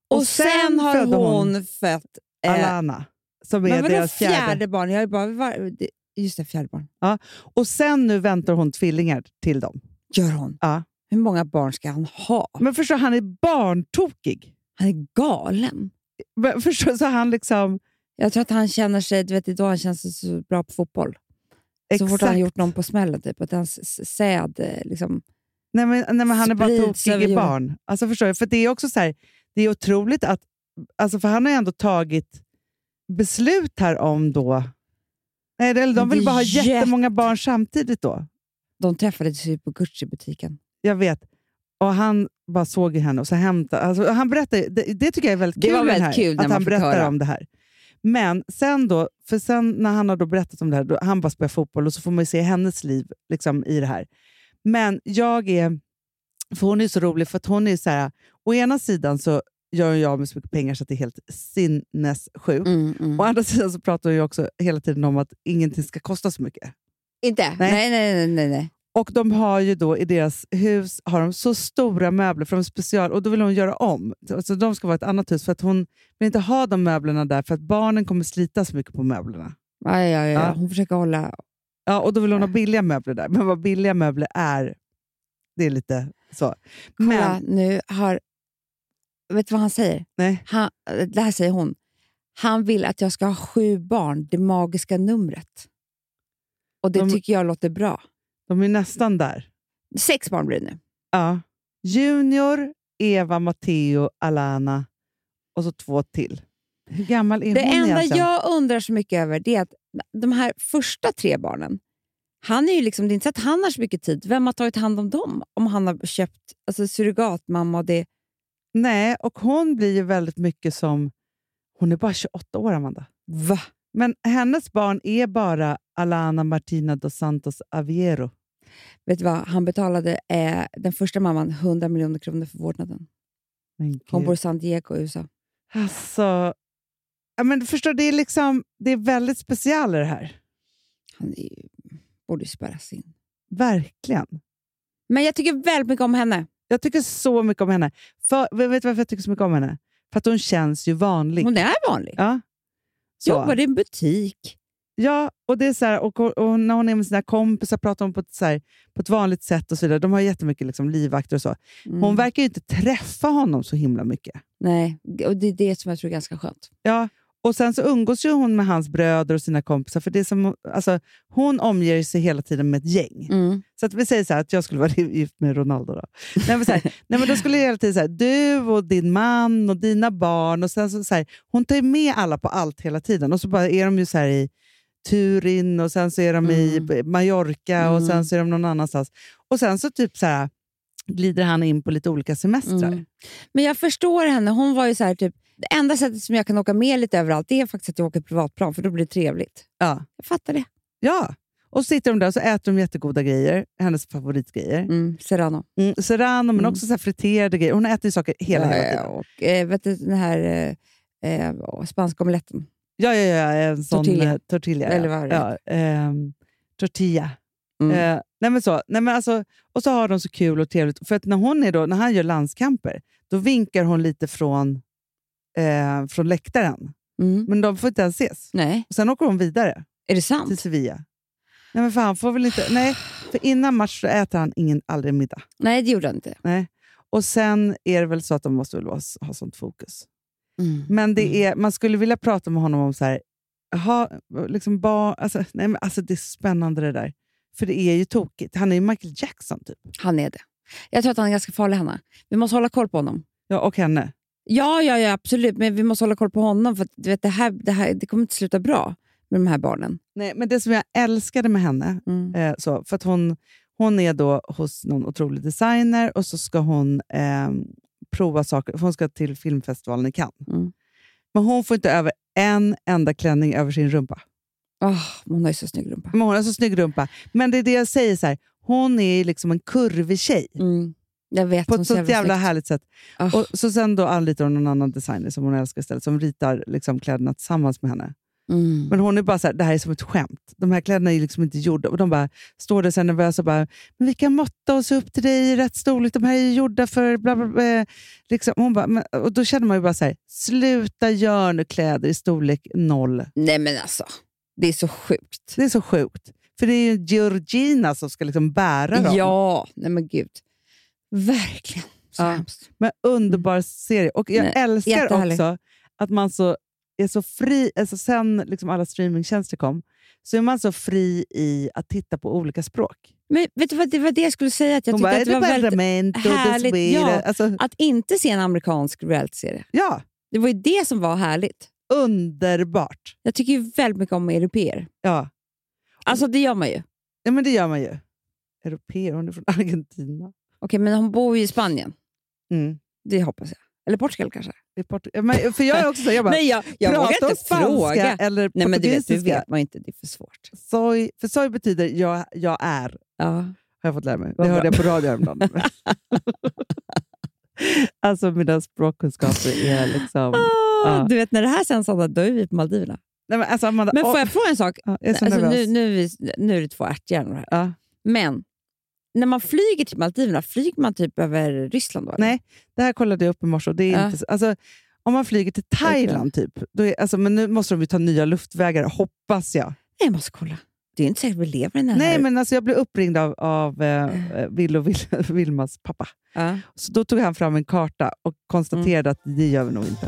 Och,
Och
sen,
sen
har
födde
hon,
hon
fött... Eh,
Alana, som är
men vadå
deras fjärde.
fjärde barn? Jag är bara, var, det- just det, fjärde barn.
Och sen nu väntar hon tvillingar till dem.
Gör hon?
Ja.
Hur många barn ska han ha?
Men förstår han är barntokig.
Han är galen.
Men Förstår så han liksom...
Jag tror att han känner sig, du vet, det är då han känner sig så bra på fotboll. Så fort han har
Exakt.
gjort någon på smällen, typ. Att hans s- säd eh, liksom...
Nej, men, nej, men han är bara
Sprids över
tokig i
jorden.
barn. Alltså, förstår du? För det är också så här, det är otroligt att... Alltså, för han har ju ändå tagit beslut här om då... Nej, det- eller
Men
de
det är
vill bara ha
jätte-
jättemånga barn samtidigt då.
De träffades ju på Gucci-butiken.
Jag vet. Och han bara såg ju henne och så hämtade... Alltså, han berättade, det, det tycker jag är väldigt
Det
kul,
var
den
väldigt
här,
kul när
att
man
han
fick
berättar
höra.
om det här. Men sen då, för sen när han har då berättat om det här, då, han bara spelar fotboll och så får man ju se hennes liv liksom, i det här. Men jag är... För hon är ju så rolig, för att hon är ju så här... Å ena sidan så gör jag av med så mycket pengar så att det är helt sinnessjukt.
Mm.
Å andra sidan så pratar jag ju också hela tiden om att ingenting ska kosta så mycket.
Inte? Nej, nej, nej. nej, nej.
Och de har ju då i deras hus har de så stora möbler, för de är special, och då vill hon göra om. Så de ska vara ett annat hus, för att hon vill inte ha de möblerna där, för att barnen kommer slita så mycket på möblerna.
Aj, aj, aj.
Ja.
Hon försöker hålla...
Ja, och då vill
Äh.
hon ha billiga möbler där, men vad billiga möbler är, det är lite så.
Kolla,
Men,
nu har... Vet du vad han säger?
nej,
Han, det här säger hon. Han vill att jag ska ha sju barn, det magiska numret. Och det
De-
tycker jag låter bra.
de är nästan där.
Sex barn blir det nu.
Ja. Junior, Eva, Matteo, Alana och så två till. Hur gammal är
Det
hon
enda
egentligen?
jag undrar så mycket över det är att de här första tre barnen Han är ju liksom, det är inte så att han har så mycket tid. Vem har tagit hand om dem? Om han har köpt alltså, surrogatmamma och det.
Nej, och hon blir ju väldigt mycket som... Hon är bara 28 år, Amanda.
Va?
Men hennes barn är bara Alana Martina dos Santos Aviero.
Vet du vad? Han betalade eh, den första mamman 100 miljoner kronor för vårdnaden.
Men
Hon
gud.
bor i San Diego i USA.
Alltså... Ja, men förstår, det, är liksom, det är väldigt speciellt det här.
Han är ju, borde ju spärras in.
Verkligen.
Men jag tycker väldigt mycket om henne.
Jag tycker så mycket om henne. För, vet du varför jag tycker så mycket om henne? För att hon känns ju vanlig.
Hon är vanlig.
Ja. Så.
Jobbar i en butik.
Ja, och, det är så här, och, och, och när hon är med sina kompisar pratar hon på ett, så här, på ett vanligt sätt. och så vidare. De har jättemycket liksom, livvakter och så.
Mm.
Hon verkar ju inte träffa honom så himla mycket.
Nej, och det är det som jag tror är ganska skönt.
Ja, och sen så umgås ju hon med hans bröder och sina kompisar. För det är som, alltså, hon omger sig hela tiden med ett gäng.
Mm.
Så att vi säger så här, att jag skulle vara gift med Ronaldo. Då, nej, men så här, nej, men då skulle jag hela tiden säga du och din man och dina barn. Och sen så, så här, hon tar ju med alla på allt hela tiden. Och så bara är de ju så här i Turin och sen så är de i Mallorca och sen så är de någon annanstans. Och sen så typ så här, glider han in på lite olika semestrar.
Mm. Men jag förstår henne. Hon var ju så här, typ, det enda sättet som jag kan åka med lite överallt det är faktiskt att jag åker privatplan, för då blir det trevligt.
Ja.
Jag fattar det.
ja. Och så sitter de där och så äter de jättegoda grejer, hennes favoritgrejer.
Mm. Serrano.
Mm. Serrano, men
Mm.
också så här friterade grejer. Hon äter ju saker hela,
Ja,
hela
ja,
tiden.
och, eh, vet du, den här eh, eh, åh, spanska omeletten.
Ja, ja, ja. En sån
Tortilla.
tortilla. tortilla
Eller
ja.
vad det
ja, ehm, tortilla.
Mm.
Eh, nej men så, nej men alltså, och så har de så kul och trevligt. För att när, hon är då, när han gör landskamper, då vinkar hon lite från, eh, från läktaren.
Mm.
Men de får inte ens ses.
Nej,
Och sen åker hon vidare
är det
till
sant?
Sevilla. Nej, men för han får väl inte... Nej, för innan match så äter han ingen, aldrig middag.
Nej, det gjorde han inte.
Nej. Och sen är det väl så att de måste väl vara- ha sånt fokus. Men det är, man skulle vilja prata med honom om så här, aha, liksom ba, alltså, nej, men alltså det är spännande det där. För det är ju tokigt. Han är ju Michael Jackson typ.
Han är det. Jag tror att han är ganska farlig, Hanna. Vi måste hålla koll på honom.
Ja, och henne.
Ja, ja, ja absolut. Men vi måste hålla koll på honom, för att, du vet, det, här, det, här, det kommer inte sluta bra med de här barnen.
Nej, men det som jag älskade med henne,
Mm.
eh, så, för att hon, hon är då hos någon otrolig designer och så ska hon eh, prova saker. för Hon ska till filmfestivalen i Cannes.
Mm.
Men hon får inte över en enda klänning över sin rumpa.
Åh, hon har ju så snygg rumpa.
Men hon har så snygg rumpa. Men det är det jag säger, så här, hon är ju liksom en kurvig tjej.
Mm. Jag vet,
På
hon
ett
ser
sånt jävla
snyggt.
härligt sätt.
Ah.
Och så sen då anlitar hon någon annan designer som hon älskar istället, som ritar liksom kläderna tillsammans med henne.
Mm.
Men hon är bara så här, det här är som ett skämt. De här kläderna är ju liksom inte gjorda. Och de bara står där sen nervösa och bara, men vi kan måtta oss upp till dig i rätt storlek. De här är ju gjorda för bla bla bla. eh, Liksom. Hon bara, men, och då känner man ju bara så här, sluta gör nu kläder i storlek noll.
Nej men alltså, det är så sjukt.
Det är så sjukt. För det är ju Georgina som ska liksom bära dem.
Ja, nej men gud. Verkligen. Så
Ja.
hemskt.
Men underbar serie. Och jag
Mm. Nej,
älskar
jättehärlig.
också att man så är så fri, alltså sen liksom alla streamingtjänster kom, så är man så fri i att titta på olika språk.
Men vet du vad, det var det jag skulle säga, att jag
Hon
tyckte
bara,
att det var väldigt... härligt,
väldigt
ja.
alltså,
Att inte se en amerikansk realityserie.
ja,
Det var ju det som var härligt.
underbart.
Jag tycker ju väldigt mycket om europeer.
Ja.
Alltså det gör man ju. Okej,
ja, men det gör man ju. Europeer, hon är från Argentina.
men hon bor ju i Spanien.
Mm.
Det hoppas jag. Eller Portugal kanske.
I Port- ja, men, för jag är också så, jag bara,
Nej, jag, jag
pratar
vågar
hon
inte
spanska
fråga.
eller
Nej, men du vet,
portugisiska?
du vet man ju inte. Det är för svårt.
Soy, för soy betyder jag, jag är.
Ja.
har jag fått lära mig. Det
Vad bra.
hörde jag på radio häromdagen. alltså mina språkkunskaper är liksom...
Ah,
Ja.
Du vet, när det här sänds, Anna, då är vi på Maldiverna.
Nej, men alltså Amanda,
Men får
åh,
jag fråga en sak?
ja, jag är så
alltså, nu,
nervös.
nu, är vi- nu är det två ärthjärnor här.
Ja.
Men när man flyger till Maldiverna, flyger man typ över Ryssland då? eller?
Nej. Det här kollade jag upp i morse. och Det är
Ja.
inte, så- alltså, om man flyger till Thailand, typ, då är, alltså, men nu måste de ju ta nya luftvägar, hoppas jag.
Nej, jag måste kolla. Det är inte säkert vi lever i den här.
Nej, men alltså, jag blev uppringd av, av eh, eh, Will och Vil- Vilmas pappa.
Ja.
Så då tog han fram en karta och konstaterade
Mm.
att det gör vi nog inte.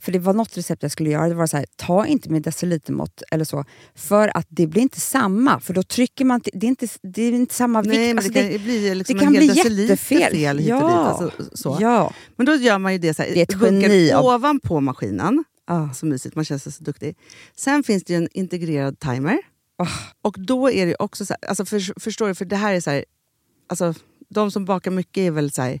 För det var något recept jag skulle göra. Det var så här, ta inte med decilitermått eller så. För att det blir inte samma. För då trycker man... till- Det är inte, det är inte samma
Nej, men
vikt. Alltså,
det kan ju bli liksom
det kan
en hel
bli
deciliter
jättefel.
fel hit och dit.
Ja.
Alltså, så.
Ja.
Men då gör man ju det så här,
Det är ett
bunkar
geni av-
ovanpå maskinen.
Ah.
Så mysigt, man känns så duktig. Sen finns det ju en integrerad timer.
Ah.
Och då är det ju också så här, alltså för, förstår du, för det här är så här, alltså de som bakar mycket är väl så här,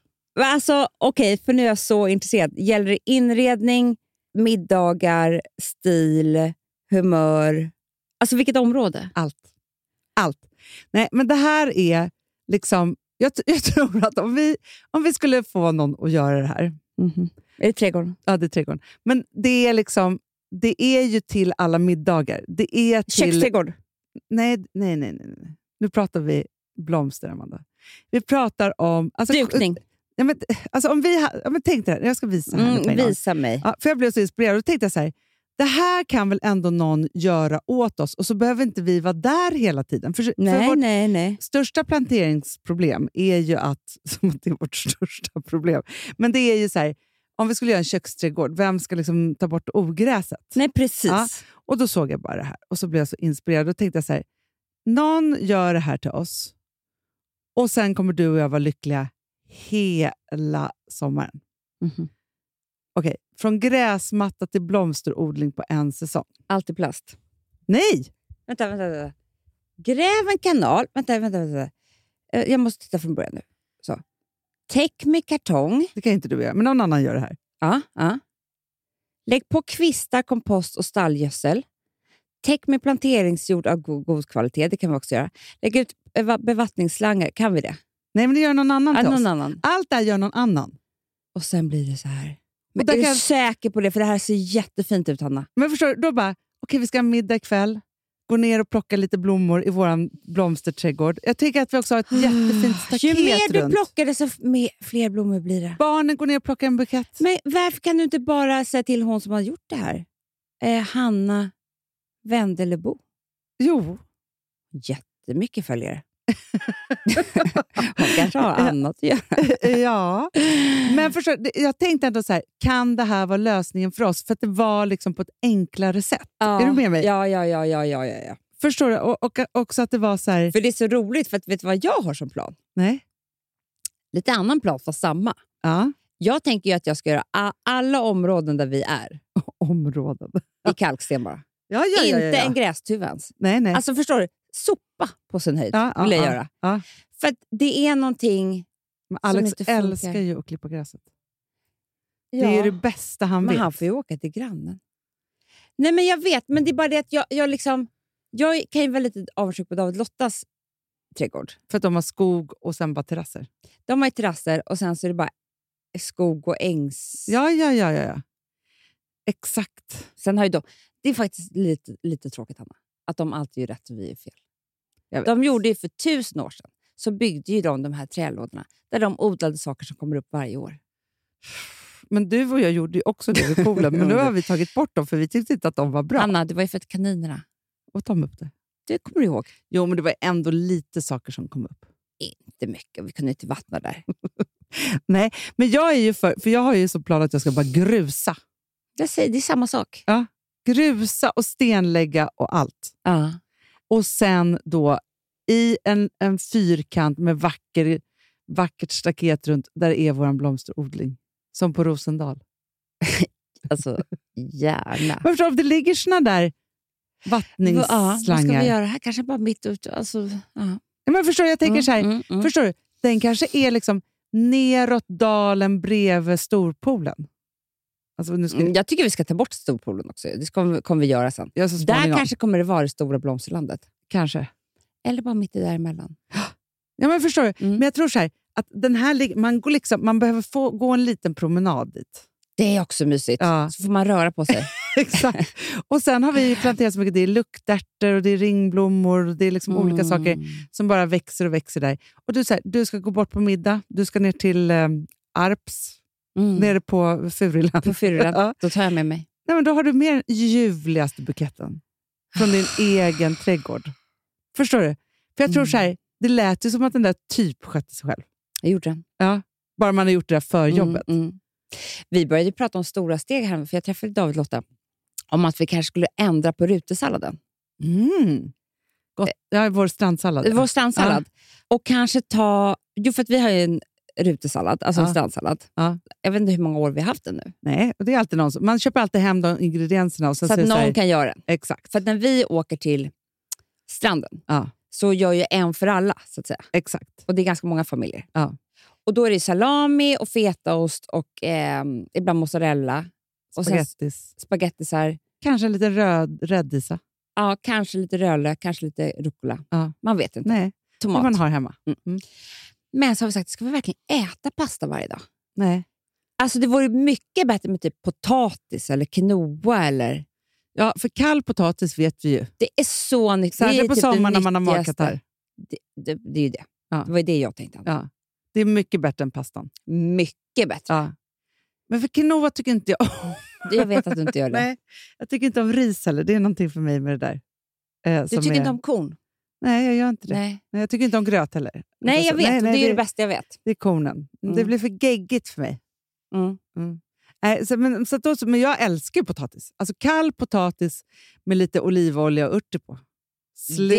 Men Alltså, Okej, för nu är jag så intresserad. Gäller det inredning, middagar, stil, humör? Alltså vilket område?
Allt. Allt. Nej, men det här är liksom... Jag, t- jag tror att om vi, om vi skulle få någon att göra det här...
Är det trädgården?
Ja, det är trädgården. Men det är liksom... Det är ju till alla middagar. Det är till...
Köksträdgård?
Nej, nej, nej, nej. nej. Nu pratar vi blomster, Amanda. Vi pratar om... Alltså,
Dukning?
Ja, men, alltså, om vi ha, ja, men tänk dig, det här. jag ska visa här nu på
Mm,
en gång.
visa mig.
ja, för Jag blev så inspirerad och tänkte jag så här, det här kan väl ändå någon göra åt oss och så behöver inte vi vara där hela tiden. För, för
Nej,
vårt
nej, nej.
största planteringsproblem är ju att, som att det är vårt största problem, men det är ju så här, om vi skulle göra en köksträdgård, vem ska liksom ta bort ogräset?
Nej, precis.
Ja. Och då såg jag bara det här och så blev jag så inspirerad och tänkte jag så här, någon gör det här till oss och sen kommer du och jag vara lyckliga hela sommaren.
Mhm.
Okej, från gräsmatta till blomsterodling på en säsong.
Allt i plast.
Nej!
Vänta, vänta, vänta. Gräv en kanal. Vänta, vänta, vänta. Eh, Jag måste titta från början nu. Så. Täck med kartong.
Det kan inte du göra, men någon annan gör det här.
Ja, ja. Lägg på kvistar, kompost och stallgödsel. Täck med planteringsjord av go- god kvalitet. Det kan vi också göra. Lägg ut beva- bevattningsslangar. Kan vi det?
Nej, men det gör någon annan
Ja,
till
någon
oss.
annan.
Allt det här gör någon annan.
Och sen blir det så här.
Och
Men
där
är
kan-
du säker på det? För det här ser jättefint ut, Hanna.
Men förstår du, då bara, okej vi ska ha middag ikväll, gå ner och plocka lite blommor i vår blomsterträdgård. Jag tycker att vi också har ett jättefint staket
Ju mer du
runt.
plockar, desto f- mer- fler blommor blir det.
Barnen går ner och plockar en bukett.
Men varför kan du inte bara säga till hon som har gjort det här? Eh, Hanna Wendelebo.
Jo.
Jättemycket följare. hon kanske har annat att göra.
eh, ja. Men förstår, du, det- jag tänkte ändå så här, kan det här vara lösningen för oss? För att det var liksom på ett enklare sätt.
Ja.
Är du med mig?
Ja, ja, ja, ja, ja, ja, ja.
Förstår du? Och, och också att det var så här,
För det är så roligt, för att, vet du vad jag har som plan?
nej.
Lite annan plan, fast samma.
Ja.
Jag tänker ju att jag ska göra a- alla områden där vi är
Områden.
i kalksten bara.
Ja, ja, ja,
Inte
ja, ja.
en grästuva ens.
Nej, nej.
Alltså förstår du? Sopa på sin höjd
Ja, ja,
vill jag
ja,
göra.
ja.
För att det är någonting...
Men
som
Alex
inte funkar.
älskar ju att klippa gräset. Det är ju det bästa han
men
vet.
han får ju åka till grannen. Nej, men jag vet, men det är bara det att jag, jag liksom... Jag kan ju vara lite avundsjuk på David Lottas trädgård.
För att de har skog och sen bara terrasser.
De har ju terrasser och sen så är det bara skog och ängs...
Ja, ja, ja, ja. ja. Exakt.
Sen har ju de, det är faktiskt lite, lite tråkigt, Hanna, att de alltid gör rätt och vi är fel.
Jag vet.
De gjorde ju för tusen år sedan, så byggde ju de de här trälådorna där de odlade saker som kommer upp varje år.
Men du och jag gjorde ju också det vid poolen, men nu har vi tagit bort dem för vi tyckte inte att de var bra.
Hanna, det var ju för att kaninerna.
Och de upp det.
Det kommer du ihåg?
Jo, men det var ändå lite saker som kom upp.
Inte mycket, vi kunde inte vattna där.
Nej, men jag är ju för, för jag har ju som plan att jag ska bara grusa.
Jag säger, det är samma sak.
Grusa och stenlägga och allt.
Ja.
Och sen då i en, en fyrkant med vacker, vackert staket runt, där är vår blomsterodling. Som på Rosendal.
Alltså, gärna.
Men förstår du, det ligger såna där
Va- ja, vad ska
vattningsslangar.
vi
Ja,
göra här? Kanske bara mitt ute? Alltså, ja.
men förstår du, jag tänker
Mm,
så här,
mm, mm.
förstår du, den kanske är liksom neråt dalen bredvid storpoolen. Alltså, nu ska
Mm, Jag tycker vi ska ta bort storpoolen också. Det kommer, kommer vi göra sen.
jag så
Där
småningom.
kanske kommer det vara det stora blomsterlandet.
kanske.
Eller bara mitt i däremellan.
Ja, men förstår du?
Mm.
Men jag tror så här, att den här, lig- man, går liksom, man behöver få, gå en liten promenad dit.
Det är också mysigt.
Ja.
Så får man röra på sig.
Exakt. Och sen har vi ju planterat så mycket. Det är luktärtor och det är ringblommor och det är liksom
Mm.
olika saker som bara växer och växer där. Och du, så här, du ska gå bort på middag, du ska ner till eh, Arps,
Mm.
nere på Furuland.
På fyran.
Ja.
Då tar jag med mig.
Nej, men då har du med den
Mm.
ljuvligaste buketten från din egen trädgård. Förstår du? För jag tror så här, Det lät ju som att den där typ skötte sig själv.
Jag gjorde den.
Bara man har gjort det där för jobbet.
Mm, mm. Vi började ju prata om stora steg här, för jag träffade David och Lotta, om att vi kanske skulle ändra på rutesalladen.
Mm. Gott. Ja, vår strandsallad.
Mm. Vår strandsallad. Och kanske ta... Jo, för att vi har ju en rutesallad, alltså en
Ja.
strandsallad.
Ja.
Jag vet inte hur många år vi har haft den nu.
Nej, och det är alltid någon som, man köper alltid hem de ingredienserna och sen
Så att
säger så här,
någon kan göra den.
Exakt.
För att när vi åker till stranden
Ja.
så gör ju en för alla, så att säga.
Exakt.
Och det är ganska många familjer.
Ja.
Och då är det salami och fetaost och ehm, ibland mozzarella. Och sen
Spagettis.
spagettisar.
Kanske en liten röd rädisa.
Ja, kanske lite rödlök, kanske lite rucola.
Ja.
Man vet inte.
Nej, det
Tomat. Mm.
man Mm. har hemma.
Men så har vi sagt, ska vi verkligen äta pasta varje dag?
Nej.
Alltså det vore mycket bättre med typ potatis eller quinoa. Eller,
Ja, för kall potatis vet vi ju.
det är så nyttigt. Det är
Särskilt på
typ det
sommaren när man har
nyttigaste.
magkatarr.
Det, det, det är ju det.
Ja.
Det var ju det jag tänkte.
Ja. Det är mycket bättre än pastan.
Mycket bättre.
Ja. Men för quinoa tycker inte jag om.
Jag vet att du inte gör det.
Nej, jag tycker inte om ris heller. Det är någonting för mig med det där. Eh,
du
som
tycker
är-
inte om korn?
Nej, jag gör inte det. Nej.
Nej.
jag tycker inte om gröt heller.
Nej, jag
Alltså,
vet. det är ju det
det,
bästa jag vet.
det är kornen. Det
Mm.
blir för geggigt för mig.
Mm.
Nej, så, men, så att då, så- men jag älskar ju potatis. Alltså kall potatis med lite olivolja och örter på. Sluta!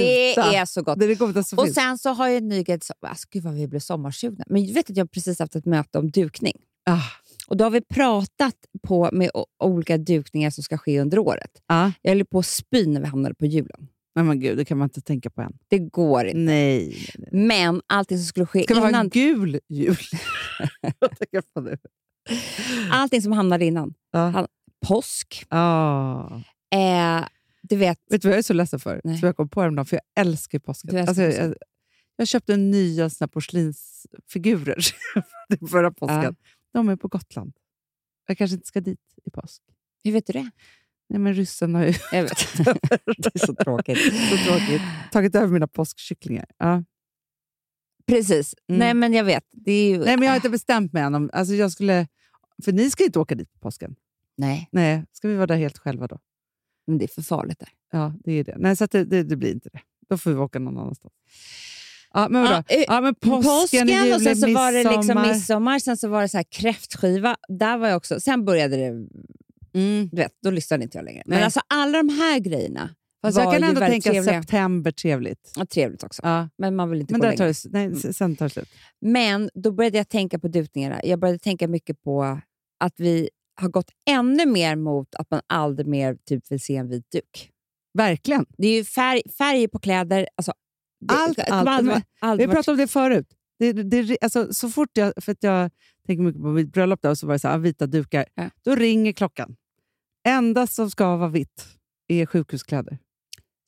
Det är så gott.
det, är det godaste som
Och
finns.
sen så har jag en ny grej. som- Alltså, gud vad vi blev sommarsugna. Men du vet att jag precis haft ett möte om dukning.
Ah,
Och då har vi pratat på med o- olika dukningar som ska ske under året.
Ja.
Jag höll på att spy när vi hamnade på julen.
nej, men gud, det kan man inte tänka på än.
Det går inte.
Nej.
Men allting som skulle ske
Ska vi ha
innan,
en gul jul? Vad tänker jag på nu?
allting som hamnade innan.
Ja.
Han- Påsk,
Ah.
eh, du vet.
Vet du vad jag är så ledsen för?
Nej.
Som jag kom på häromdagen, för jag älskar ju påsken.
Du älskar
alltså, jag,
påsken.
jag, jag köpte nya såna porslinsfigurer till förra påsken.
Ja.
De är på Gotland. Jag kanske inte ska dit i påsk.
Hur vet du det?
Nej, men ryssen har ju
Jag vet.
det är så tråkigt. så tråkigt. tagit över mina påskkycklingar. Ja.
Precis.
Mm.
Nej, men jag vet. Det är ju...
Nej, men jag har inte bestämt mig än. Om, alltså, jag skulle, för ni ska ju inte åka dit på påsken.
Nej,
Nej, ska vi vara där helt själva då?
men det är för farligt där.
Ja, det är det. Nej, så att det, det, det blir inte det. Då får vi åka någon annanstans. Ja, men vadå?
Ja, eh,
Ja, men påsken, jul,
och sen så var det liksom
midsommar.
midsommar, sen så var det så här kräftskiva. Där var jag också. Sen började det, du vet, då lyssnade inte jag längre. Men
Mm. Nej.
alltså alla de här grejerna
Fast jag
var
kan
ju
ändå
väldigt
tänka
trevliga.
september trevligt.
Ja, trevligt också,
Ja.
men man vill inte
Men
gå
där tar
längre. Mm.
det, s- nej, s- sen tar det slut.
Men då började jag tänka på dutningarna. Jag började tänka mycket på att vi har gått ännu mer mot att man aldrig mer typ vill se en vit duk.
Verkligen.
Det är ju färg, färg på kläder. Alltså, det,
Allt,
det
allt.
kommer aldrig, vara-
Vi
aldrig
pratade om det förut. Det, det, alltså, så fort jag, för att jag tänker mycket på mitt bröllop där, och så var det så här, ah, vita dukar.
Ja.
Då ringer klockan. Enda som ska vara vitt är sjukhuskläder.
varit-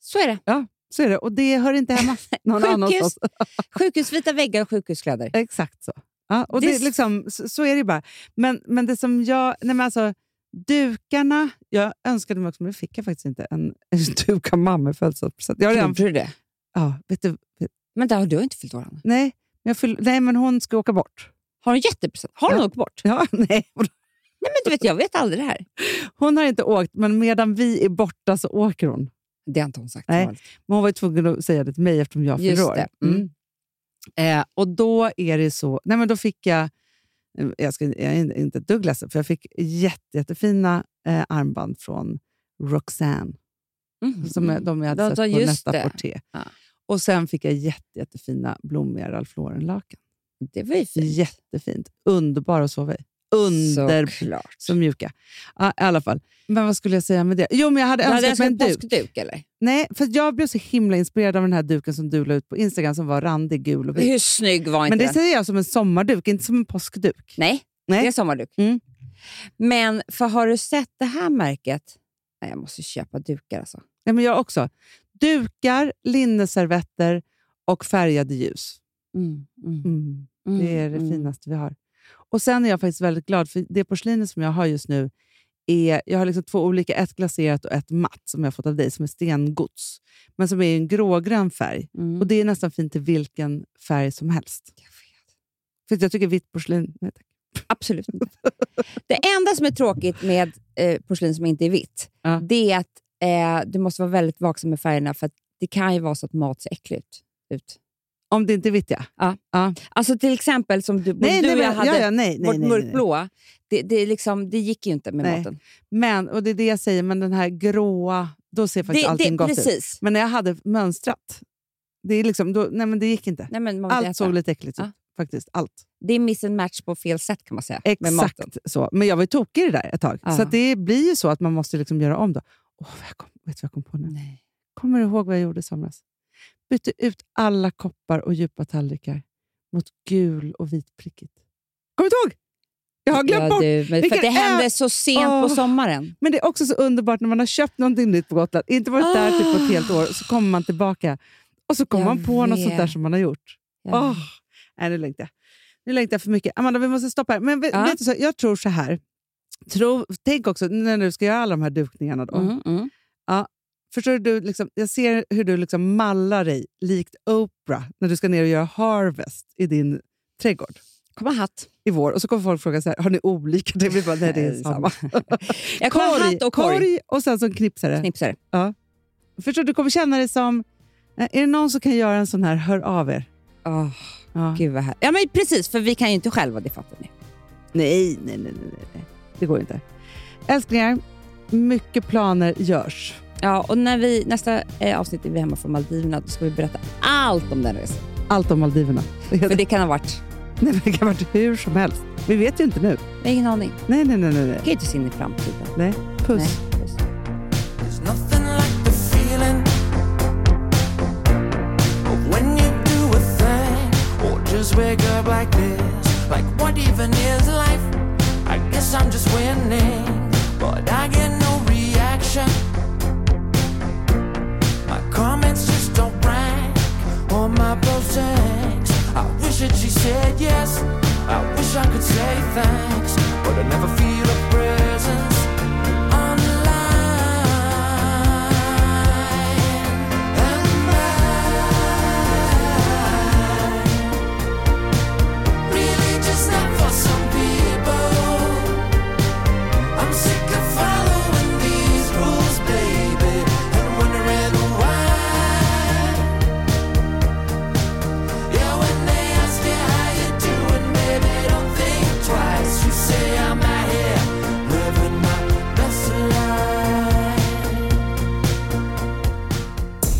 Så är det.
Så är det. Och det hör inte hemma någon
Sjukhus.
annanstans.
Sjukhusvita väggar och sjukhuskläder.
Exakt så. Ja, och
Det är
det, är
s-
liksom, så, så är det ju bara. Men, men det som jag... Nej men alltså, dukarna... Jag önskade mig också, men det fick jag faktiskt inte, en, en duk av mamma i födelsedagspresent. Jag har redan...
Gjorde du det?
Ja, vet du,
Men där har du inte fyllt år, Anna.
nej, men jag fyll, nej, men hon ska åka bort.
Har hon gett dig present? Har hon
Ja.
åkt bort?
Ja, nej.
Nej, men du vet, jag vet aldrig det här.
Hon har inte åkt, men medan vi är borta så åker hon.
Det har inte hon sagt.
Nej.
till mig.
Men hon var ju tvungen att säga det till mig eftersom jag
Just
fyller år.
det, mm.
Eh, och då är det så... Nej, men då fick jag... eh, Jag, ska, jag är inte ett dugg ledsen, för jag fick jätte, jättefina eh, armband från Roxanne.
Mhm.
Mm-hmm. Som jag, de jag hade
Ja,
sett
ja,
på
just
nästa
det.
porté.
Ja.
Och sen fick jag jätte, jättefina blommiga Ralph Lauren-lakan.
Det var ju fint.
Jättefint. Underbara att sova i. Under...
Såklart.
Så mjuka. Ja, I alla fall. Men vad skulle jag säga med det? Jo, men jag hade
Du hade
önskat mig en
önskat
duk.
påskduk, eller?
Nej, för jag blev så himla inspirerad av den här duken som du la ut på Instagram som var randig, gul och vit.
Hur snygg var inte
Men det
den?
säger jag som en sommarduk, inte som en påskduk.
Nej,
Nej.
det är sommarduk.
Mm.
Men för har du sett det här märket? Nej, jag måste köpa dukar alltså.
Nej, men jag också. Dukar, linneservetter och färgade ljus. Mm. Det är det finaste vi har. Och Sen är jag faktiskt väldigt glad, för det porslinet som jag har just nu är, jag har liksom två olika, ett glaserat och ett matt som jag har fått av dig, som är stengods. Men som är en grågrön färg.
mm.
Och Det är nästan fint till vilken färg som helst. För att jag tycker vitt porslin... Nej, tack.
Absolut inte. Det enda som är tråkigt med eh, porslin som inte är vitt,
Ja.
det är att eh, du måste vara väldigt vaksam med färgerna, för att det kan ju vara så att mat ser äckligt ut.
Om det inte vet jag.
Alltså till exempel som du,
Nej,
du
nej,
och jag
men,
hade
ja, ja, nej, nej,
vårt
nej, nej, nej.
mörkblåa. Det, det, är liksom, det gick ju inte med
Nej,
maten.
Men, och det är det jag säger, men den här gråa, då ser faktiskt
Det,
allting
det,
gott ut.
precis.
Men när jag hade mönstrat, det, är liksom, då, nej, men det gick inte.
Nej, men man vill
Allt
äta.
såg lite äckligt
Ja.
ut. Faktiskt, allt.
Det är miss and match på fel sätt kan man säga. Med
Exakt
maten.
så. Men jag var ju tokig i det där ett tag.
Ja.
Så att det blir ju så att man måste liksom göra om. Då. Åh, vad jag kom, vet du vad jag kom på nu? Kommer du ihåg vad jag gjorde i somras? Bytte ut alla koppar och djupa tallrikar mot gul och vitprickigt. Kommer du ihåg? Jag har glömt
ja,
bort.
du, men, för
Vilken
att det
ö-
hände så sent på
Åh.
sommaren.
Men det är också så underbart när man har köpt någonting nytt på Gotland, inte varit där typ på ett helt år, så kommer man tillbaka och så kommer
Jag
man på något sånt där
vet.
som man har gjort.
Ja.
Åh, nej, nu längtar jag. Nu längtar jag för mycket. Amanda, vi måste stoppa här. Men vet,
Ja.
vet du, så, jag tror så här. Tro, tänk också, när du ska göra alla de här dukningarna då.
Mm, mm.
Förstår du, du, liksom, jag ser hur du liksom mallar dig likt Oprah när du ska ner och göra harvest i din trädgård
Kommer hatt.
i vår. Och så kommer folk fråga så här, har ni olika? Det blir bara, nej, det är
Nej,
samma.
Jag kommer ha hatt och korg.
korg och sen som knipsare.
Knipsare.
Förstår du, du kommer känna dig som... Eh, Är det någon som kan göra en sån här, hör av er.
Åh,
Ja.
Gud vad här. Ja, men precis, för vi kan ju inte själva, det fattar ni.
Nej, nej, nej, nej, nej. Det går inte. Älsklingar, mycket planer görs.
Ja, och när vi, nästa eh, avsnitt är vi hemma från Maldiverna, då ska vi berätta allt om den resan.
Allt om Maldiverna. Det,
För
heter,
det kan ha varit...
nej, men det kan ha varit hur som helst. Vi vet ju inte nu.
Jag har ingen aning.
Nej, nej, nej. nej,
Vi
nej.
kan ju inte se in i framtiden.
nej. Puss.
Nej, puss.
There's nothing like the feeling of when you do a thing or just wake up like this. Like, what even is life? I guess I'm just winning, but I get no reaction. My comments just don't rank on my postings. I wish that she said yes. I wish I could say thanks, but I never feel a presence online. And I really just not for some people. I'm sick of following these rules, baby, and wondering why. Yeah, when they ask you how you doing, baby, don't think twice. You say I'm out here living my best life.